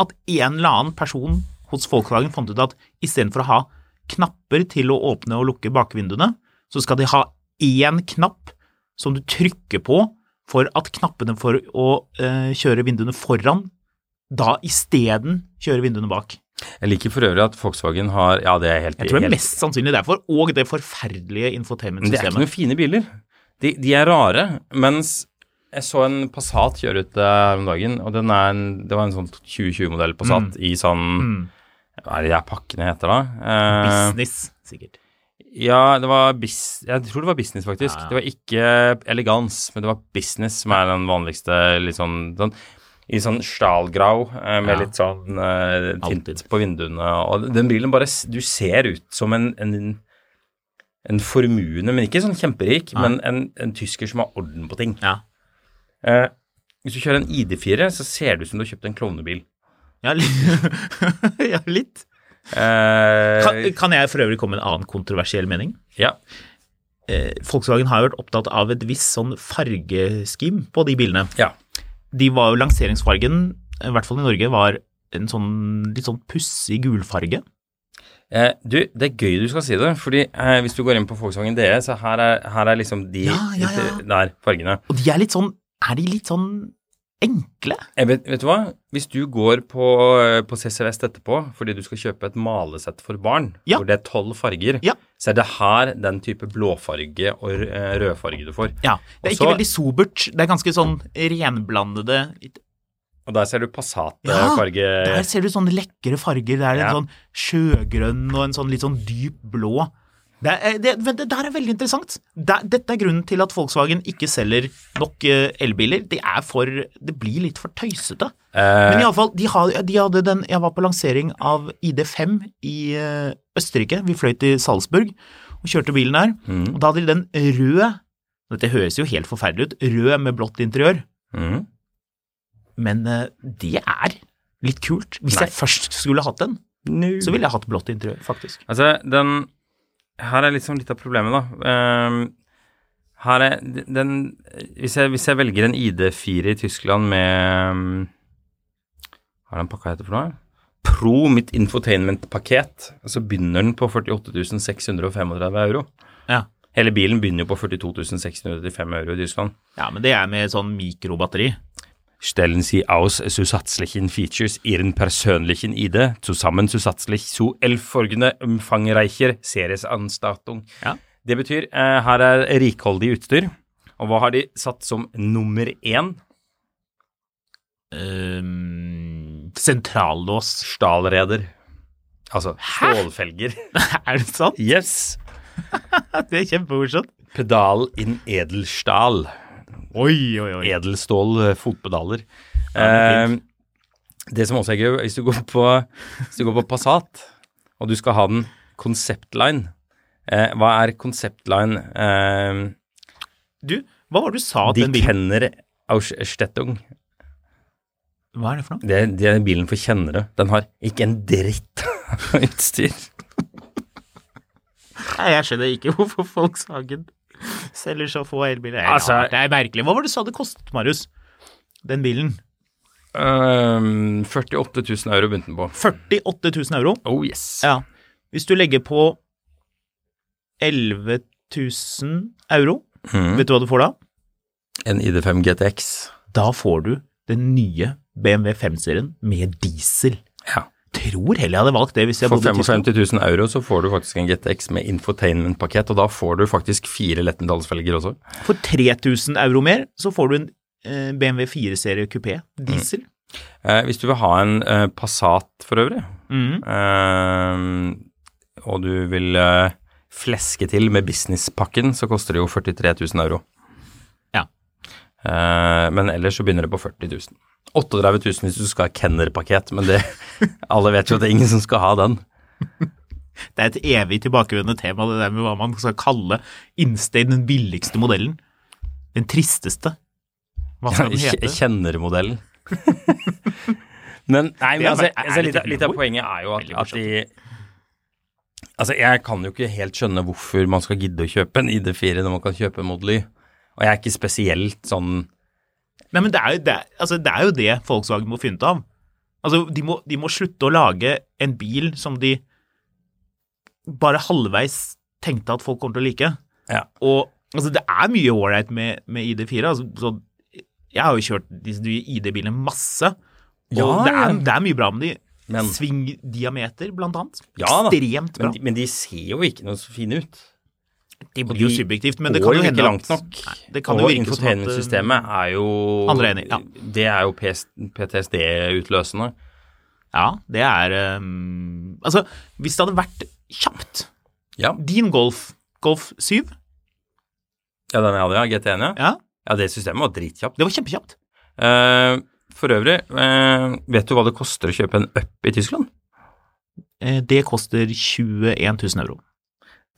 Speaker 4: at en eller annen person hos Volkswagen fant ut at istedenfor å ha knapper til å åpne og lukke bakvinduene, så skal de ha én knapp som du trykker på for at knappene for å eh, kjøre vinduene foran da isteden kjører vinduene bak.
Speaker 3: Jeg liker for øvrig at Volkswagen har Ja, det er helt
Speaker 4: Jeg tror det er
Speaker 3: helt-
Speaker 4: mest sannsynlig derfor, og det
Speaker 3: Men
Speaker 4: forferdelige
Speaker 3: Det er ikke
Speaker 4: infotainment-systemet.
Speaker 3: noen fine biler. De, de er rare. Mens jeg så en Passat kjøre ut eh, her om dagen, og den er en, det var en sånn 2020-modell Passat
Speaker 4: Mm.
Speaker 3: i sånn Hva er det de her pakkene heter, da? Eh,
Speaker 4: Business, sikkert.
Speaker 3: Ja, det var bis jeg tror det var business, faktisk. Det var ikke elegans, men det var business som er den vanligste litt sånn, sånn i sånn stahlgrau eh, med
Speaker 4: Ja.
Speaker 3: litt sånn eh, tint
Speaker 4: Alltid.
Speaker 3: på vinduene. Og den bilen bare s- Du ser ut som en, en, en formuende, men ikke sånn kjemperik, men en, en tysker som har orden på ting.
Speaker 4: Ja.
Speaker 3: Eh, hvis du kjører en ID4, så ser det ut som du har kjøpt en klovnebil.
Speaker 4: Ja, litt. ja, litt.
Speaker 3: Eh,
Speaker 4: Kan, kan jeg for øvrig komme med en annen kontroversiell mening?
Speaker 3: ja.
Speaker 4: Eh, Volkswagen har jo vært opptatt av et visst sånn fargeskim på de bilene.
Speaker 3: ja.
Speaker 4: De var jo lanseringsfargen, i hvert fall i Norge, var en sånn litt sånn pussig gulfarge.
Speaker 3: Eh, du, det er gøy du skal si det, fordi eh, hvis du går inn på Volkswagen DE, så her er, her er liksom de
Speaker 4: Ja, ja, ja.
Speaker 3: der fargene.
Speaker 4: Og de er litt sånn Er de litt sånn enkle.
Speaker 3: Jeg Eh, vet, vet du hva? Hvis du går på, eh, på CC Vest etterpå fordi du skal kjøpe et malesett for barn,
Speaker 4: Ja.
Speaker 3: hvor det er tolv farger,
Speaker 4: Ja.
Speaker 3: så er det her den type blåfarge og rø- eh, rødfarge du får.
Speaker 4: Ja, Det er
Speaker 3: Også-
Speaker 4: ikke veldig sobert. Det er ganske sånn renblandede litt-
Speaker 3: Og der ser du eh,
Speaker 4: Ja,
Speaker 3: Passat-farge.
Speaker 4: Der ser du sånne lekre farger. Det er en
Speaker 3: Ja.
Speaker 4: sånn sjøgrønn og en sånn litt sånn dyp blå. Det, er, eh, det, men det der er veldig interessant. Det, dette er grunnen til at Volkswagen ikke selger nok eh, elbiler. Det er for Det blir litt for tøysete.
Speaker 3: eh,
Speaker 4: Men iallfall, de, har- de hadde den Jeg var på lansering av ID5 i eh, Østerrike. Vi fløy til Salzburg og kjørte bilen der. Og da hadde de den røde Dette høres jo helt forferdelig ut. Rød med blått interiør.
Speaker 3: Mhm.
Speaker 4: Men eh, det er litt kult. Hvis jeg først skulle hatt den, så ville jeg hatt blått interiør, faktisk.
Speaker 3: Altså, den Her er liksom litt av problemet, da. Ehm, her er den hvis jeg, hvis jeg velger en ID4 i Tyskland med um, Hva er den pakka heter for noe? Pro mitt infotainment-pakket. Så begynner den på 48 635 euro.
Speaker 4: Ja.
Speaker 3: Hele bilen begynner jo på 42 635 euro i Tyskland.
Speaker 4: men det er med sånn mikrobatteri.
Speaker 3: Stellen Sie aus zusatzlichen Features Ihren persönlichen ID zusammen zusatzlich zu elf folgende umfangreicher Seriesanstattung.
Speaker 4: Ja.
Speaker 3: Det betyr eh, her er rikholdig utstyr. Og hva har de satt som nummer én?
Speaker 4: Ehm, sentrallås.
Speaker 3: Stahlreder. Altså stålfelger.
Speaker 4: er det sant?
Speaker 3: Yes.
Speaker 4: Det er kjempemorsomt.
Speaker 3: Pedal in edelstahl.
Speaker 4: Oi, oi, oi.
Speaker 3: Edelstål eh, fotpedaler.
Speaker 4: Ja,
Speaker 3: Eh, det som også er gøy, hvis du går på, hvis du går på Passat, og du skal ha den konseptline eh, Hva er konseptline? Eh,
Speaker 4: Du, hva var det du sa at
Speaker 3: de
Speaker 4: den bilen
Speaker 3: kenner Austettung.
Speaker 4: Hva er det for noe?
Speaker 3: Det, det er bilen for kjennere. Den har ikke en dritt av utstyr.
Speaker 4: Nei, jeg skjønner ikke hvorfor Volkswagen selger så få elbiler. Det er
Speaker 3: Altså-
Speaker 4: rart, det er merkelig. Hva var det du sa det kostet, Marius? Den bilen.
Speaker 3: Eh, 48 000 euro begynte den på.
Speaker 4: 48 000 euro.
Speaker 3: Oh yes.
Speaker 4: Ja. Hvis du legger på 11 000 euro,
Speaker 3: Mhm.
Speaker 4: vet du hva du får da?
Speaker 3: En ID5 GTX.
Speaker 4: Da får du den nye BMW 5-serien med diesel.
Speaker 3: Ja.
Speaker 4: Tror heller jeg hadde valgt det hvis jeg
Speaker 3: For
Speaker 4: bodde i Tyskland.
Speaker 3: 55 000 euro så får du faktisk en GTX med infotainment-pakket, og da får du faktisk fire lettmetallsfelger også.
Speaker 4: For 3000 euro mer så får du en eh, BMW 4-serie kupé diesel.
Speaker 3: Eh, hvis du vil ha en eh, Passat for øvrig,
Speaker 4: Mhm.
Speaker 3: eh, og du vil eh, fleske til med businesspakken, så koster det jo 43 000 euro.
Speaker 4: Ja.
Speaker 3: Eh, men ellers så begynner det på 40 000. 38 000 hvis du skal ha kennerpakket, men det, alle vet jo at det er ingen som skal ha den.
Speaker 4: Det er et evig tilbakevendende tema, det der med hva man skal kalle Instein den billigste modellen. Den tristeste. Hva skal den
Speaker 3: Jeg
Speaker 4: hete?
Speaker 3: kjenner modellen. Men nei, men
Speaker 4: Det er
Speaker 3: altså,
Speaker 4: bare- er
Speaker 3: altså,
Speaker 4: det
Speaker 3: litt, av-
Speaker 4: litt
Speaker 3: litt av
Speaker 4: humor?
Speaker 3: poenget er jo at,
Speaker 4: Veldig
Speaker 3: at de Altså, jeg kan jo ikke helt skjønne hvorfor man skal gidde å kjøpe en ID4 når man kan kjøpe en Model Y. Og jeg er ikke spesielt sånn
Speaker 4: Nei, men det er, jo det, altså, det er jo det Volkswagen må finne ut av. Altså, de må, de må slutte å lage en bil som de bare halvveis tenkte at folk kommer til å like.
Speaker 3: Ja.
Speaker 4: Og altså, det er mye ålreit med, med ID4. Altså, så, jeg har jo kjørt disse nye ID-bilene masse, og
Speaker 3: Ja,
Speaker 4: det,
Speaker 3: ja.
Speaker 4: er, det er mye bra med de.
Speaker 3: Men-
Speaker 4: Svingdiameter, blant annet.
Speaker 3: Ja da,
Speaker 4: Ekstremt bra.
Speaker 3: men, de- men de ser jo ikke noe så fine ut.
Speaker 4: det
Speaker 3: og
Speaker 4: blir jo
Speaker 3: de
Speaker 4: subjektivt, men det
Speaker 3: Går
Speaker 4: kan jo
Speaker 3: jo
Speaker 4: hende
Speaker 3: ikke
Speaker 4: at-
Speaker 3: langt nok.
Speaker 4: Nei, det kan jo
Speaker 3: og
Speaker 4: virke som at,
Speaker 3: infotainmentsystemet er jo
Speaker 4: Andre er enig, ja.
Speaker 3: Det er jo PS PTSD-utløsende.
Speaker 4: eh, Ja, det er um, Altså, hvis det hadde vært kjapt
Speaker 3: Ja.
Speaker 4: Din Golf, Golf 7,
Speaker 3: ja, den jeg hadde, ja. GT1, ja.
Speaker 4: ja,
Speaker 3: Ja, det systemet var dritkjapt.
Speaker 4: det var kjempekjapt.
Speaker 3: Eh, for øvrig, eh, vet du hva det koster å kjøpe en up i Tyskland?
Speaker 4: Eh, Det koster 21 000 euro.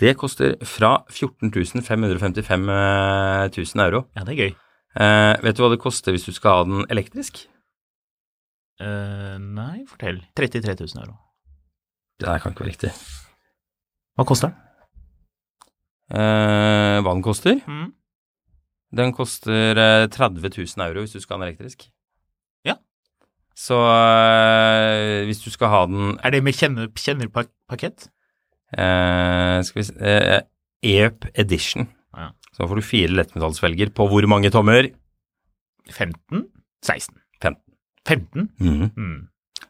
Speaker 3: Det koster fra 14 555 eh, 000 euro.
Speaker 4: Ja, det er gøy.
Speaker 3: Eh, vet du hva det koster hvis du skal ha den elektrisk?
Speaker 4: Eh, nei, fortell. 33 000 euro.
Speaker 3: Det her kan ikke være riktig.
Speaker 4: Hva koster den?
Speaker 3: Eh, hva den koster?
Speaker 4: Mm.
Speaker 3: Den koster eh, 30 000 euro hvis du skal ha den elektrisk.
Speaker 4: Ja.
Speaker 3: Så eh, hvis du skal ha den
Speaker 4: Er det med kjenner, kjennerpakett?
Speaker 3: eh, Skal vi se eh, EUP Edition.
Speaker 4: Ja.
Speaker 3: Så da får du fire lettmetallsvelger på hvor mange tommer?
Speaker 4: 15? 16.
Speaker 3: 15.
Speaker 4: 15?
Speaker 3: Mhm.
Speaker 4: Mm.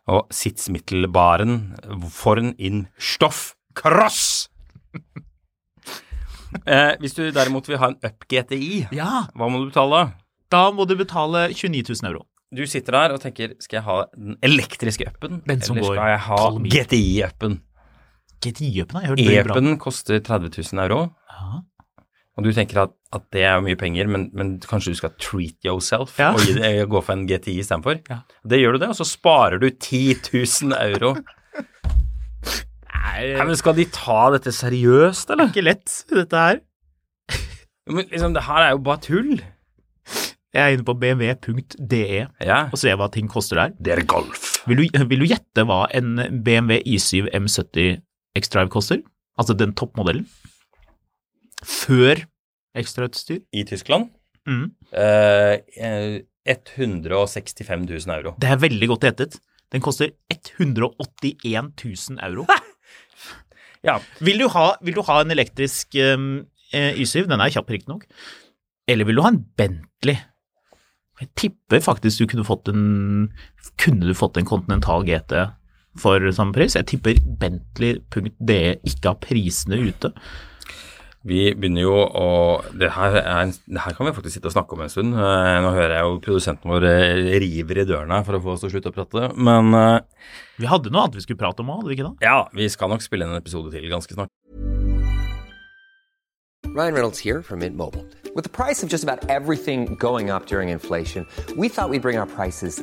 Speaker 3: Og Sitzmittelbaren Forn in Stoff Cross! eh, hvis du derimot vil ha en up GTI,
Speaker 4: Ja,
Speaker 3: hva må du betale da?
Speaker 4: da må du betale 29 000 euro.
Speaker 3: Du sitter der og tenker skal jeg ha den elektriske upen,
Speaker 4: Den som
Speaker 3: eller
Speaker 4: går
Speaker 3: skal jeg ha
Speaker 4: tolv mil.
Speaker 3: GTI-upen?
Speaker 4: GTI-upen har jeg hørt blir bra.
Speaker 3: E-upen koster 30 000 euro,
Speaker 4: Ja.
Speaker 3: og du tenker at, at det er mye penger, men, men kanskje du skal treat yourself
Speaker 4: Ja.
Speaker 3: og gi det, eh, gå for en GTI istedenfor?
Speaker 4: Ja.
Speaker 3: Det gjør du det, og så sparer du 10 000 euro. Nei, men skal de ta dette seriøst, eller?
Speaker 4: Ikke lett, dette her.
Speaker 3: Jo, Men liksom, det her er jo bare tull.
Speaker 4: Jeg er inne på bmw.de
Speaker 3: Ja.
Speaker 4: E og ser hva ting koster der.
Speaker 3: Det er golf.
Speaker 4: Vil du, vil du gjette hva en BMW i7 M70 X-Drive koster? Altså den toppmodellen? Før ekstrautstyr?
Speaker 3: I Tyskland
Speaker 4: Mm.
Speaker 3: eh, eh, 165 000 euro.
Speaker 4: Det er veldig godt gjettet. Den koster 181 000 euro.
Speaker 3: Ja.
Speaker 4: Vil du ha, vil du ha en elektrisk um, eh, Y7? Den er kjapp, riktignok. Eller vil du ha en Bentley? Jeg tipper faktisk du kunne fått en Kunne du fått en Continental GT for samme pris? Jeg tipper Bentley.de ikke har prisene ute.
Speaker 3: Vi begynner jo å det her, er en, det her kan vi faktisk sitte og snakke om en stund. Eh, Nå hører jeg jo produsenten vår eh, river i dørene for å få oss til å slutte å prate. Men eh,
Speaker 4: Vi hadde noe annet vi skulle prate om òg, hadde vi ikke det?
Speaker 3: ja, vi skal nok spille inn en episode til ganske snart.
Speaker 5: Ryan Reynolds here from Mint Mobile. With the price of just about everything going up during inflation, we thought we'd bring our prices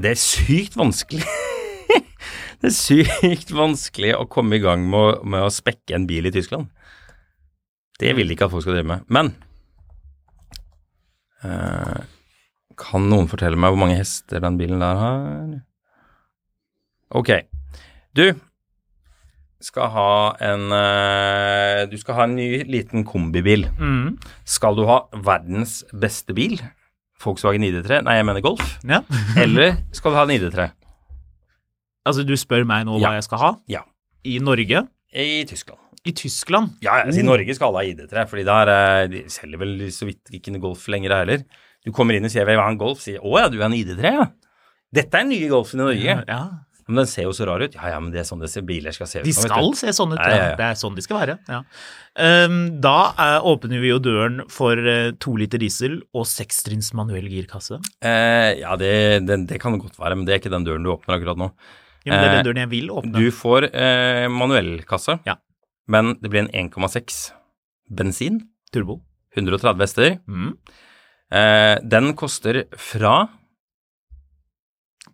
Speaker 3: Det er sykt vanskelig. det er sykt vanskelig å komme i gang med, å- med å spekke en bil i Tyskland. Det vil de ikke at folk skal drive med. Men eh, kan noen fortelle meg hvor mange hester den bilen der har? Ok. Du skal ha en eh, Du skal ha en ny liten kombibil. Skal du ha verdens beste bil? Volkswagen ID3? Nei, jeg mener Golf.
Speaker 4: Ja.
Speaker 3: Eller skal du ha en ID3?
Speaker 4: Altså, du spør meg nå
Speaker 3: Ja.
Speaker 4: hva jeg skal ha.
Speaker 3: Ja.
Speaker 4: I Norge?
Speaker 3: I Tyskland.
Speaker 4: I Tyskland?
Speaker 3: Ja, jeg
Speaker 4: Oh.
Speaker 3: sier Norge skal alle ha ID3, fordi der eh, de selger vel så vidt ikke noe Golf lenger heller. Du kommer inn og sier 'vil du ha en Golf', sier 'å ja, du er en ID3', ja. Dette er den nye Golfen i Norge.
Speaker 4: Ja.
Speaker 3: Men den ser jo så rar ut. Ja ja, men det er sånn disse biler skal se ut.
Speaker 4: De
Speaker 3: nå, vet
Speaker 4: skal
Speaker 3: du.
Speaker 4: se sånn
Speaker 3: Ja,
Speaker 4: ut,
Speaker 3: ja,
Speaker 4: ja.
Speaker 3: ja.
Speaker 4: Det er sånn de skal være. Ja. Ehm, da eh, åpner vi jo døren for eh, to liter diesel og sekstrinns manuell girkasse.
Speaker 3: Eh, ja, det, det, det kan godt være, men det er ikke den døren du åpner akkurat nå.
Speaker 4: Jo, men det er
Speaker 3: Eh,
Speaker 4: den døren jeg vil åpne.
Speaker 3: Du får eh, manuellkasse,
Speaker 4: Ja.
Speaker 3: men det blir en 1,6 bensin,
Speaker 4: Turbo.
Speaker 3: 130 hester.
Speaker 4: Mm.
Speaker 3: Eh, den koster fra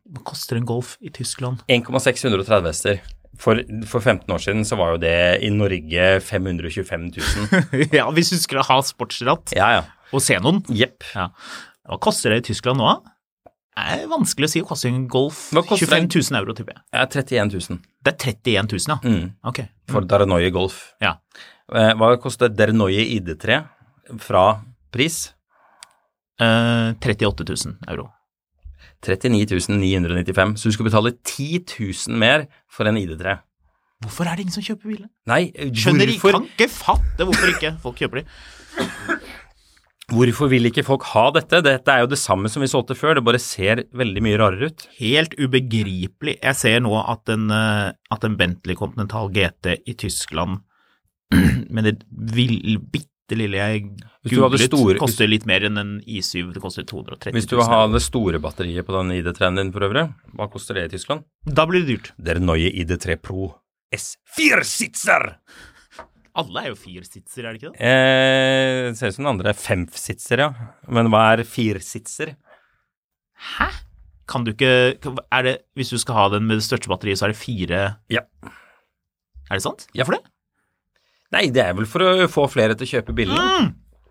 Speaker 4: Hva koster en Golf i Tyskland?
Speaker 3: 1,630 hester. For, for 15 år siden så var jo det i Norge 525 000.
Speaker 4: ja, hvis du skulle ha sportsratt
Speaker 3: Ja, ja.
Speaker 4: og se noen.
Speaker 3: Jepp.
Speaker 4: Ja. Hva koster det i Tyskland nå, da? Det er vanskelig å si. Hva Koster en Golf
Speaker 3: Hva koster
Speaker 4: 25
Speaker 3: en-
Speaker 4: 000 euro, tipper jeg.
Speaker 3: Ja, 31 000
Speaker 4: Det er 31 000, ja.
Speaker 3: Mm.
Speaker 4: Ok.
Speaker 3: for Daranoye Golf.
Speaker 4: Ja.
Speaker 3: Eh, hva koster Daranoye ID3 fra pris?
Speaker 4: Eh, 38 000 euro.
Speaker 3: 39 995. Så du skal betale 10 000 mer for en ID3.
Speaker 4: Hvorfor er det ingen som kjøper biler?
Speaker 3: Nei,
Speaker 4: Skjønner ikke,
Speaker 3: hvorfor,
Speaker 4: kan ikke fatte hvorfor ikke folk kjøper de.
Speaker 3: hvorfor vil ikke folk ha dette? Dette er jo det samme som vi solgte før, det bare ser veldig mye rarere ut.
Speaker 4: Helt ubegripelig. Jeg ser nå at en, eh, at en Bentley Continental GT i Tyskland med det vill- bitte det lille jeg
Speaker 3: Hvis du hadde
Speaker 4: googlet,
Speaker 3: store-
Speaker 4: koster litt mer enn en i7. Det koster 230 000.
Speaker 3: Hvis du vil ha det store batteriet på den ID3-en din for øvrig, hva koster det i Tyskland?
Speaker 4: Da blir det dyrt.
Speaker 3: Det er nøye ID3 Pro S4-sitser!
Speaker 4: Alle er jo firsitser, er det ikke det?
Speaker 3: Eh, det ser ut som den andre er femsitser, ja. Men hva er firsitser?
Speaker 4: Kan du ikke er det, Hvis du skal ha den med det største batteriet, så er det fire
Speaker 3: Ja.
Speaker 4: Er det sant?
Speaker 3: Ja, for det? Nei, det er vel for å få flere til å kjøpe billig.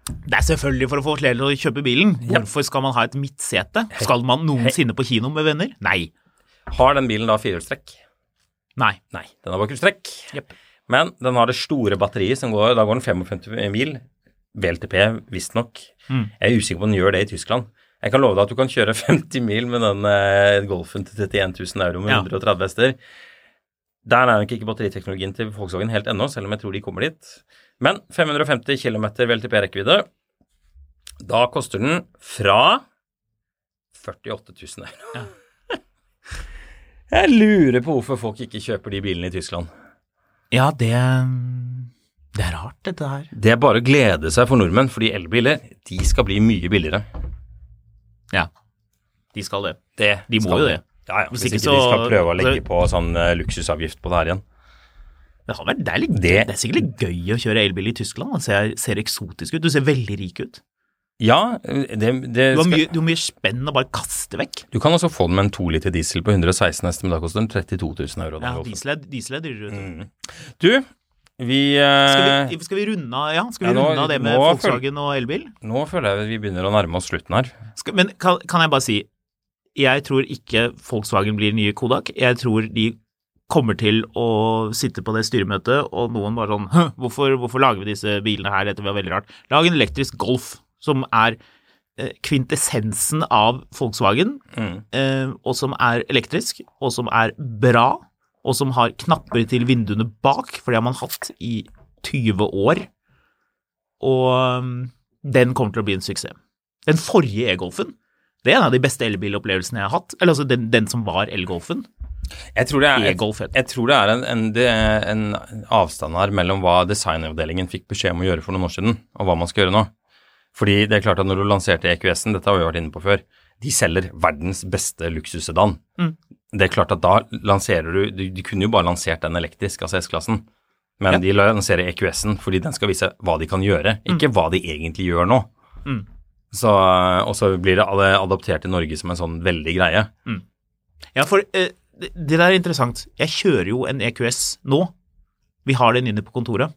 Speaker 4: Det er selvfølgelig for å få flere til å kjøpe bilen. Hvorfor skal man ha et midtsete? Skal man noensinne på kino med venner? Nei.
Speaker 3: Har den bilen da firehjulstrekk?
Speaker 4: Nei.
Speaker 3: Nei, den har bakhjulstrekk.
Speaker 4: Jepp.
Speaker 3: Men den har det store batteriet som går Da går den 55 mil. VLTP, visstnok. Jeg er usikker på om den gjør det i Tyskland. Jeg kan love deg at du kan kjøre 50 mil med den eh, Golfen til 31 000 euro med
Speaker 4: Ja.
Speaker 3: 130 hester. Der er nok ikke batteriteknologien til Volkswagen helt ennå, selv om jeg tror de kommer dit. Men 550 km VLTP-rekkevidde. Da koster den fra 48 000 euro. Jeg lurer på hvorfor folk ikke kjøper de bilene i Tyskland.
Speaker 4: Ja, det Det er rart, dette her.
Speaker 3: Det er bare å glede seg for nordmenn, fordi elbiler de skal bli mye billigere.
Speaker 4: Ja. De skal det.
Speaker 3: Det
Speaker 4: De må
Speaker 3: skal
Speaker 4: jo det.
Speaker 3: Ja, ja, hvis,
Speaker 4: Hvis
Speaker 3: ikke,
Speaker 4: ikke så-
Speaker 3: de skal prøve å legge
Speaker 4: så-
Speaker 3: på sånn eh, luksusavgift på det her igjen.
Speaker 4: Det, har vært, det, er litt, det,
Speaker 3: Det-
Speaker 4: er sikkert litt gøy å kjøre elbil i Tyskland. Det ser, ser eksotisk ut. Du ser veldig rik ut.
Speaker 3: Ja, eh, det, det
Speaker 4: Du har
Speaker 3: skal,
Speaker 4: mye, du har mye spenn å bare kaste vekk.
Speaker 3: du kan også få den med en 2 liter diesel på 116 hester, men da koster den 32 000 euro. den
Speaker 4: Ja,
Speaker 3: Golfen.
Speaker 4: diesel er, diesel er dyrere.
Speaker 3: Mm.
Speaker 4: vet du.
Speaker 3: Du, vi,
Speaker 4: Skal vi,
Speaker 3: eh,
Speaker 4: skal vi runde av ja, skal vi
Speaker 3: Ja, nå-
Speaker 4: runde av det med
Speaker 3: nå føl-
Speaker 4: Volkswagen og elbil?
Speaker 3: Nå føler jeg vi begynner å nærme oss slutten her.
Speaker 4: Skal, men kan, kan jeg bare si, jeg tror ikke Volkswagen blir nye Kodak. Jeg tror de kommer til å sitte på det styremøtet, og noen bare sånn «Hø, hvorfor, hvorfor lager vi disse bilene her? Dette var veldig rart. Lag en elektrisk Golf, som er eh, kvintessensen av Volkswagen, eh, og som er elektrisk, og som er bra, og som har knapper til vinduene bak, for det har man hatt i 20 år. Og mm, den kommer til å bli en suksess. Den forrige e-golfen, det er en av de beste elbilopplevelsene jeg har hatt. Eller altså den, den som var elgolfen.
Speaker 3: Jeg tror det er,
Speaker 4: E-Golf heter
Speaker 3: jeg, jeg tror det er en, en, det er en avstand her mellom hva designavdelingen fikk beskjed om å gjøre for noen år siden, og hva man skal gjøre nå. Fordi det er klart at når du lanserte EQS-en, dette har vi vært inne på før, de selger verdens beste luksussedan. Det er klart at da lanserer du, du De kunne jo bare lansert den elektrisk, altså S-klassen, men de lanserer EQS-en fordi den skal vise hva de kan gjøre, ikke hva de egentlig gjør nå. Så, og så blir det alle adoptert i Norge som en sånn veldig greie.
Speaker 4: Ja, for eh, det det der er interessant. Jeg kjører jo en EQS nå. Vi har den inne på kontoret.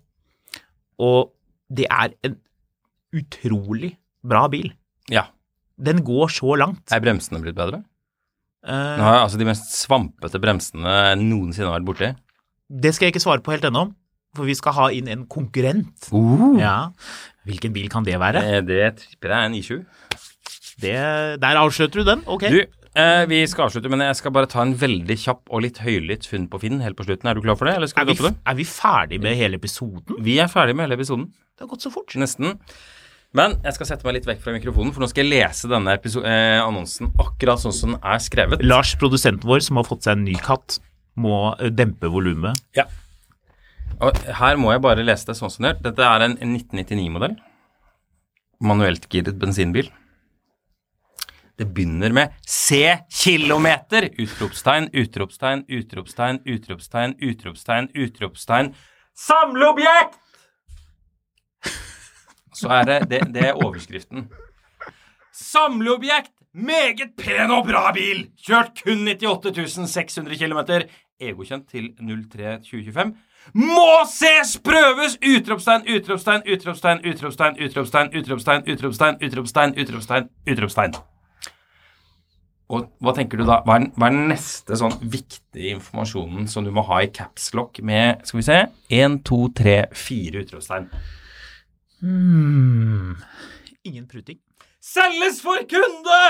Speaker 4: Og det er en utrolig bra bil.
Speaker 3: Ja.
Speaker 4: Den går så langt.
Speaker 3: Er bremsene blitt bedre?
Speaker 4: Eh,
Speaker 3: Nå har jeg altså de mest svampete bremsene jeg noensinne har vært borti.
Speaker 4: det skal jeg ikke svare på helt ennå, for vi skal ha inn en konkurrent. Ja. Hvilken bil kan det være?
Speaker 3: Uh. Eh, Det tripper jeg er en i7.
Speaker 4: Det, der avslørte du den. Ok.
Speaker 3: Du, eh, vi skal avslutte, men jeg skal bare ta en veldig kjapp og litt høylytt funn på Finn helt på slutten. Er du klar for det, eller skal
Speaker 4: er,
Speaker 3: vi
Speaker 4: vi,
Speaker 3: gå på det?
Speaker 4: er vi ferdig med hele episoden?
Speaker 3: Vi er ferdig med hele episoden.
Speaker 4: Det har gått så fort.
Speaker 3: Nesten. Men jeg skal sette meg litt vekk fra mikrofonen, for nå skal jeg lese denne episo- eh, annonsen akkurat sånn som den er skrevet.
Speaker 4: Lars, produsenten vår, som har fått seg en ny katt, må eh, dempe volumet.
Speaker 3: Ja. Og her må jeg bare lese det sånn som det er. Dette er en 1999-modell. Manueltgiret bensinbil. Det begynner med Se kilometer! Utropstegn, utropstegn, utropstegn, utropstegn, utropstegn, utropstegn. Samleobjekt! Så er det Det, det er overskriften. Samleobjekt! Meget pen og bra bil! Kjørt kun 98 600 km. Egokjent til 03.2025. Må ses prøves! Utropstegn, utropstegn, utropstegn, utropstegn, utropstegn, utropstegn, utropstegn, utropstegn, utropstegn, utropstegn. Og hva tenker du da? Hva er, den- hva er den neste sånn viktige informasjonen som du må ha i caps lock med Skal vi se 1, 2, 3, 4 utropstegn.
Speaker 4: Hmm. Ingen pruting.
Speaker 3: Selges for kunde!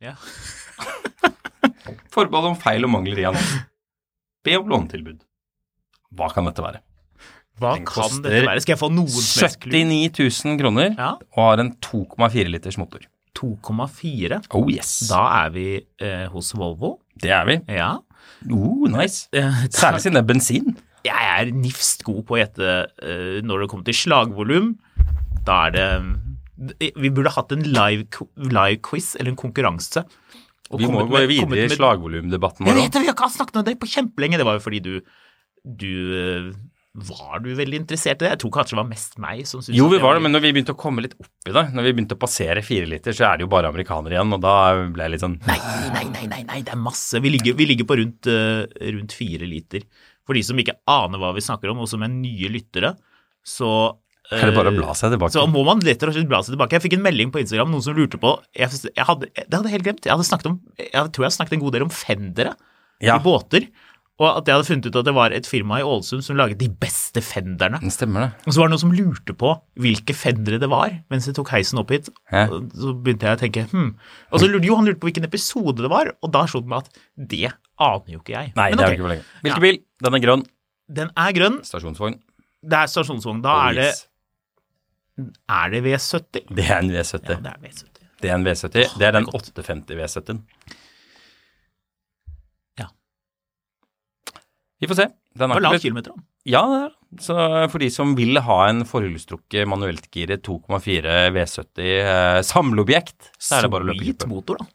Speaker 4: Ja.
Speaker 3: Forbehold om feil og mangler i annonsen. Be om lånetilbud. Hva kan dette være?
Speaker 4: Hva
Speaker 3: Den
Speaker 4: kan
Speaker 3: koster
Speaker 4: dette være? Skal jeg få noen som helst klubb?
Speaker 3: 79 000 kroner
Speaker 4: Ja.
Speaker 3: og har en 2,4 liters motor.
Speaker 4: 2,4.
Speaker 3: Oh yes.
Speaker 4: Da er vi eh, hos Volvo.
Speaker 3: Det er vi.
Speaker 4: Ja.
Speaker 3: Oh, nice.
Speaker 4: Eh,
Speaker 3: Særlig siden det er bensin.
Speaker 4: jeg er nifst god på å gjette eh, når det kommer til slagvolum. Da er det eh, Vi burde hatt en live, live quiz eller en konkurranse. Og
Speaker 3: Vi må jo
Speaker 4: kommet
Speaker 3: gå
Speaker 4: med- kommet
Speaker 3: videre i
Speaker 4: med-
Speaker 3: slagvolumdebatten
Speaker 4: Jeg
Speaker 3: vår.
Speaker 4: vet det, vi har ikke snakket om det på kjempelenge. Det var jo fordi du, du eh, Var du veldig interessert i det? Jeg tror kanskje det var mest meg som syntes
Speaker 3: Jo,
Speaker 4: at
Speaker 3: vi
Speaker 4: det
Speaker 3: var det, men når vi begynte å komme litt opp i det, når vi begynte å passere fire liter, så er det jo bare amerikanere igjen, og da ble jeg litt sånn
Speaker 4: Nei, nei, nei, nei, nei, det er masse. Vi ligger, vi ligger på rundt, eh, rundt fire liter. For de som ikke aner hva vi snakker om, og som er nye lyttere, så eh,
Speaker 3: Er det bare å bla seg tilbake?
Speaker 4: Så må man lett og slett bla seg tilbake. Jeg fikk en melding på Instagram, noen som lurte på jeg, jeg hadde, Det hadde jeg helt glemt. Jeg, hadde snakket om, jeg tror jeg snakket en god del om fendere
Speaker 3: Ja.
Speaker 4: i båter. Og at jeg hadde funnet ut at det var et firma i Ålesund som laget de beste fenderne.
Speaker 3: Den Mm, stemmer det.
Speaker 4: Og så var det noen som lurte på hvilke fendere det var, mens jeg tok heisen opp hit.
Speaker 3: Hæ?
Speaker 4: Og Så begynte jeg å tenke hm. Og så lurte jo han lurte på hvilken episode det var, og da slo det meg at det aner jo ikke jeg.
Speaker 3: Nei,
Speaker 4: Men
Speaker 3: det er
Speaker 4: ok.
Speaker 3: jo ikke for lenge.
Speaker 4: Ja.
Speaker 3: Hvilken bil? Den er grønn.
Speaker 4: Den er grønn.
Speaker 3: Stasjonsvogn.
Speaker 4: Det er stasjonsvogn. Da
Speaker 3: Oh,
Speaker 4: er, det,
Speaker 3: yes.
Speaker 4: er det V70.
Speaker 3: Det er en
Speaker 4: Ja,
Speaker 3: V70.
Speaker 4: det er V70.
Speaker 3: Det er en V70. Det er den 850 V70-en.
Speaker 4: Ja.
Speaker 3: Vi får se. Den
Speaker 4: Det var
Speaker 3: er
Speaker 4: lang
Speaker 3: ikke blitt-
Speaker 4: kilometer, da.
Speaker 3: Ja, det er det. Så eh, for de som vil ha en forhullstrukket manueltgiret 2,4 V70 eh, samleobjekt, så er det bare å løpe
Speaker 4: Solid
Speaker 3: løpet.
Speaker 4: motor, da.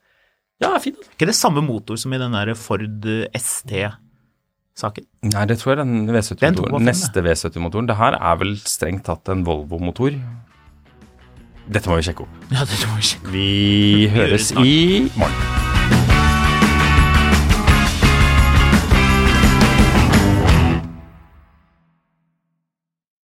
Speaker 3: Ja, fin.
Speaker 4: Ikke det samme motor som i den der Ford ST-saken.
Speaker 3: Nei, det tror jeg den
Speaker 4: Den 2,5,
Speaker 3: V70-motoren.
Speaker 4: ja.
Speaker 3: Neste V70-motoren. Det her er vel strengt tatt en Volvo-motor. Dette må vi sjekke opp.
Speaker 4: Ja, det tror jeg ikke.
Speaker 3: Vi høres
Speaker 4: høres snart.
Speaker 3: i morgen.